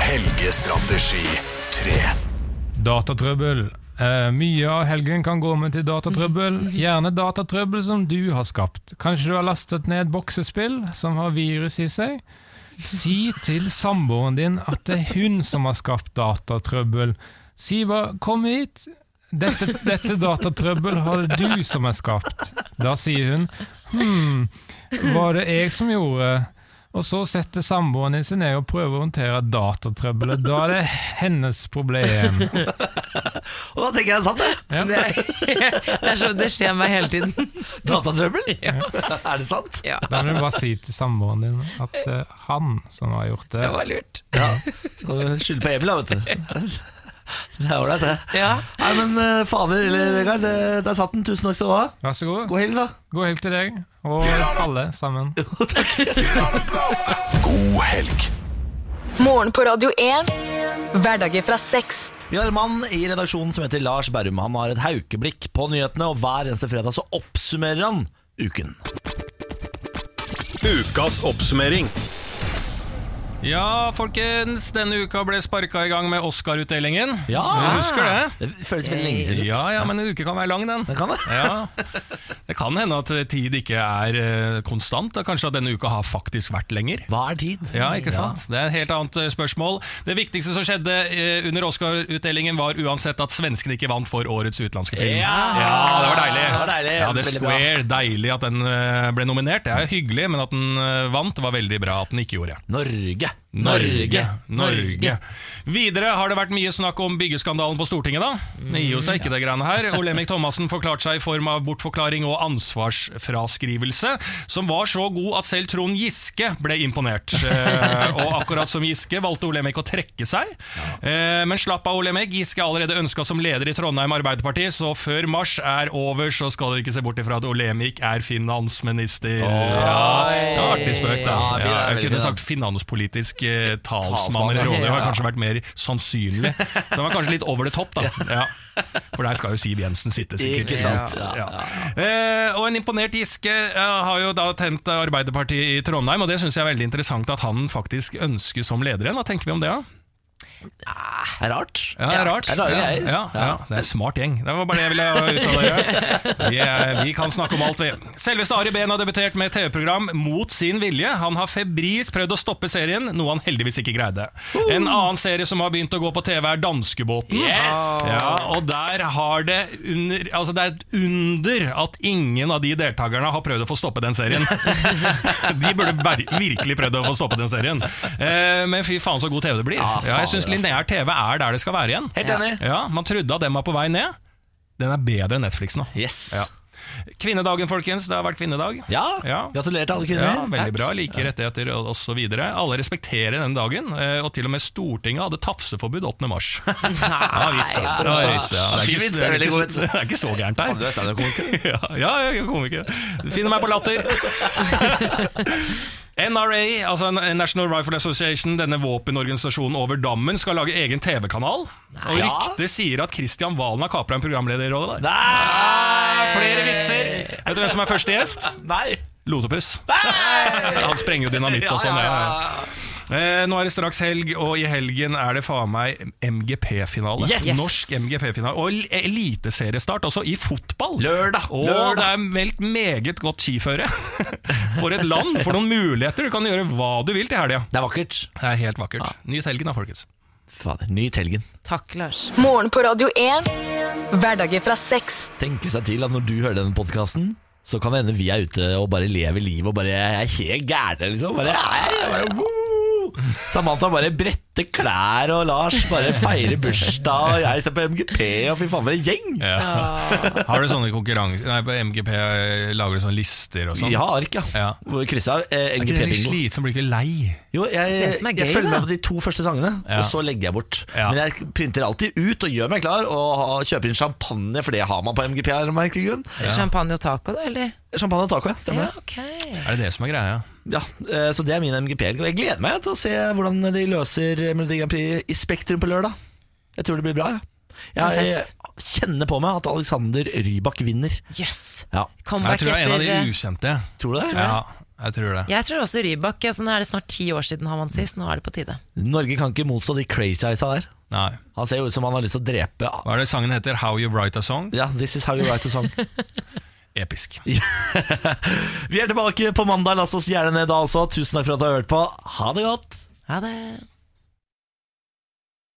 N: Helgestrategi 3.
B: Datatrøbbel. Eh, mye av helgen kan gå med til datatrøbbel. Gjerne datatrøbbel som du har skapt. Kanskje du har lastet ned boksespill som har virus i seg? Si til samboeren din at det er hun som har skapt datatrøbbel. Si bare 'kom hit'. Dette, dette datatrøbbel har det du som har skapt. Da sier hun 'hm, var det jeg som gjorde'? Og så setter samboeren din seg ned og prøver å håndtere datatrøbbelet. Da er det hennes problem.
A: Og da tenker jeg sant, det!
C: Det, er, det er så det skjer meg hele tiden.
A: Datatrøbbel? Er det sant?
C: Ja.
B: Da må du bare si til samboeren din at det er han som har gjort det.
C: Det var lurt.
A: Ja. Skyld på Emil, da, vet du. Det er ålreit, det. Nei, men eh, fader eller Vegard, det- der satt den. Tusen takk skal du ha.
B: Vær så god.
A: God helg, da.
B: God helg til deg, og alle sammen.
N: God helg.
D: Morgen på Radio 1. Hverdager fra seks.
A: Vi har en mann i redaksjonen som heter Lars Berrum. Han har et haukeblikk på nyhetene, og hver eneste fredag så oppsummerer han uken.
G: Ukas oppsummering.
B: Ja, folkens, denne uka ble sparka i gang med Oscar-utdelingen.
A: Ja.
B: Du husker det?
A: Det føles veldig lenge siden ut.
B: Ja, ja, men en uke kan være lang, den. Det
A: kan, det.
B: Ja. det kan hende at tid ikke er eh, konstant. og Kanskje at denne uka har faktisk vært lenger.
A: Hva er tid?
B: Ja, ikke sant? Det er et helt annet eh, spørsmål. Det viktigste som skjedde eh, under Oscar-utdelingen, var uansett at svenskene ikke vant for årets utenlandske film.
A: Ja.
B: Ja, det var deilig.
A: Det var deilig.
B: Ja, det
A: Veldig bra.
B: Square, deilig at den eh, ble nominert. Det er jo hyggelig, men at den eh, vant, var veldig bra at den ikke gjorde.
A: Norge.
B: Norge, Norge. Videre har det vært mye snakk om byggeskandalen på Stortinget, da. Det gir jo seg ikke, det greiene her. Olemic Thomassen forklarte seg i form av bortforklaring og ansvarsfraskrivelse, som var så god at selv Trond Giske ble imponert. Eh, Og akkurat som Giske valgte Olemic å trekke seg. Eh, Men slapp av, Olemic. Giske er allerede ønska som leder i Trondheim Arbeiderparti, så før mars er over, så skal dere ikke se bort ifra at Olemic er finansminister. Ja, det var artig spøk, da.
A: Ja, fin,
B: Ja,
A: veldig
B: jeg kunne
A: fin,
B: sagt finanspolitisk eh, talsmann
A: Talsmann,
B: eller rådgiver har
A: ja.
B: kanskje vært mer sannsynlig. Så han var kanskje litt over det topp, da. Ja. For der skal jo Siv Jensen sitte, sikkert.
A: Ikke sant?
B: Ja. Ja. Eh, og en imponert Giske eh, har jo da tent Arbeiderpartiet i Trondheim, og det syns jeg er veldig interessant at han faktisk ønskes som leder igjen. Hva tenker vi om det, da?
A: Det er rart.
B: Ja, det er rart.
A: Det er rare
B: ja,
A: greier.
B: ja, ja, det er en smart gjeng. Det var bare det jeg ville ha ut av dere. Vi, er- vi kan snakke om alt, vi. Selveste Ari Behn har debutert med TV-program mot sin vilje. Han har febrilsk prøvd å stoppe serien, noe han heldigvis ikke greide. En annen serie som har begynt å gå på TV, er Danskebåten.
A: Yes!
B: Ja, og der har det under, altså Det er et under at ingen av de deltakerne har prøvd å få stoppe den serien. De burde ver virkelig prøvd å få stoppe den serien. Eh, men fy faen, så god TV det blir.
A: Ja,
B: Ja, jeg
A: faen, altså.
B: syns lineær TV er der det skal være igjen.
A: Helt enig.
B: Ja, Man trodde at den var på vei ned. Den er bedre enn Netflix nå.
A: Yes.
B: Ja. Kvinnedagen, folkens. Det har vært kvinnedag.
A: Ja, gratulerer til alle kvinner.
B: Ja, veldig
A: Takk.
B: bra. Like rettigheter og og så videre. Alle respekterer denne dagen, eh, og til og med Stortinget hadde tafseforbud 8. mars. Ja, vits, ja. Det var vits, ja. Det er
A: Fin
B: ikke-
A: vits,
B: det er
A: veldig
B: ikke
A: god
B: så-
A: vits.
B: Det er ikke så gærent her.
A: Du er standup-komiker.
B: Ja, ja, jeg er komiker. Du finner meg på latter. NRA, altså National Rifle Association, denne våpenorganisasjonen over dammen, skal lage egen TV-kanal. Og
A: Ja.
B: ryktet sier at Kristian Valen har kapra en programlederrolle der. Nei! Flere vitser! Vet du hvem som er første gjest?
A: Nei.
B: Lotepus. Han sprenger jo dynamitt og sånn. Ja, ja, ja. Eh, nå er det straks helg, og i helgen er det faen meg MGP-finale.
A: Yes!
B: Norsk MGP-finale. Og el- eliteseriestart også, i fotball.
A: Lørdag,
B: Og
A: lørdag.
B: det er meldt meget godt skiføre. For et land, for noen muligheter. Du kan gjøre hva du vil til helga.
A: Det er vakkert.
B: Det er helt vakkert. Nyt helgen da, folkens.
A: Fader, nyt helgen.
C: Takk, Lars.
D: Morgen på Radio 1. Hverdager fra seks.
A: Tenke seg til at når du hører denne podkasten, så kan det hende vi er ute og bare lever livet og bare er helt gærne, liksom. Bare, jeg, bare, woo! Samantha bare bretter klær, og Lars bare feirer bursdag, og jeg ser på MGP, og fy faen, for en gjeng!
B: Har du sånne konkurranser Nei, på MGP eh, lager du sånne lister og sånn?
A: Ja, ark, ja.
B: Ja.
A: Hvor kryssa eh,
B: Er ikke det litt
A: MGP-bingo.
B: slitsomt? Blir du ikke lei?
A: Jo, jeg,
C: Det som er gøy,
A: jeg følger
C: da.
A: med på de to første sangene,
B: Ja.
A: og så legger jeg bort.
B: Ja.
A: Men jeg printer alltid ut og gjør meg klar, og ha- kjøper inn champagne, for det har man på MGP. her, om jeg ikke grunn.
C: Champagne og taco, da, eller?
A: Champagne og taco, ja.
C: Ja,
A: Stemmer det.
C: ok.
B: Er det det som er greia?
A: Ja, eh, så det er min MGP-helg. Og jeg gleder meg til å se hvordan de løser Melodi Grand Prix i Spektrum på lørdag. Jeg tror det blir bra. Ja. Jeg,
C: Det er fest.
A: jeg kjenner på meg at Alexander Rybak vinner.
C: Jøss.
A: Ja.
B: Jeg
C: Comeback
B: tror det er en av de
C: etter eh,
B: ukjente.
A: Tror du det?
B: Ja, jeg tror det.
C: Jeg tror også Rybak. Sånn er det snart ti år siden han vant sist. Nå er det på tide.
A: Norge kan ikke motstå de crazy eyesa der.
B: Nei.
A: Han ser jo ut som han har lyst til å drepe
B: Hva er det sangen heter? How You Write a Song?
A: Ja, this is how you write a song.
B: Episk.
A: Vi er tilbake på mandag. La oss gjerne ned da også. Tusen takk for at du har hørt på. Ha det godt.
C: Ha det.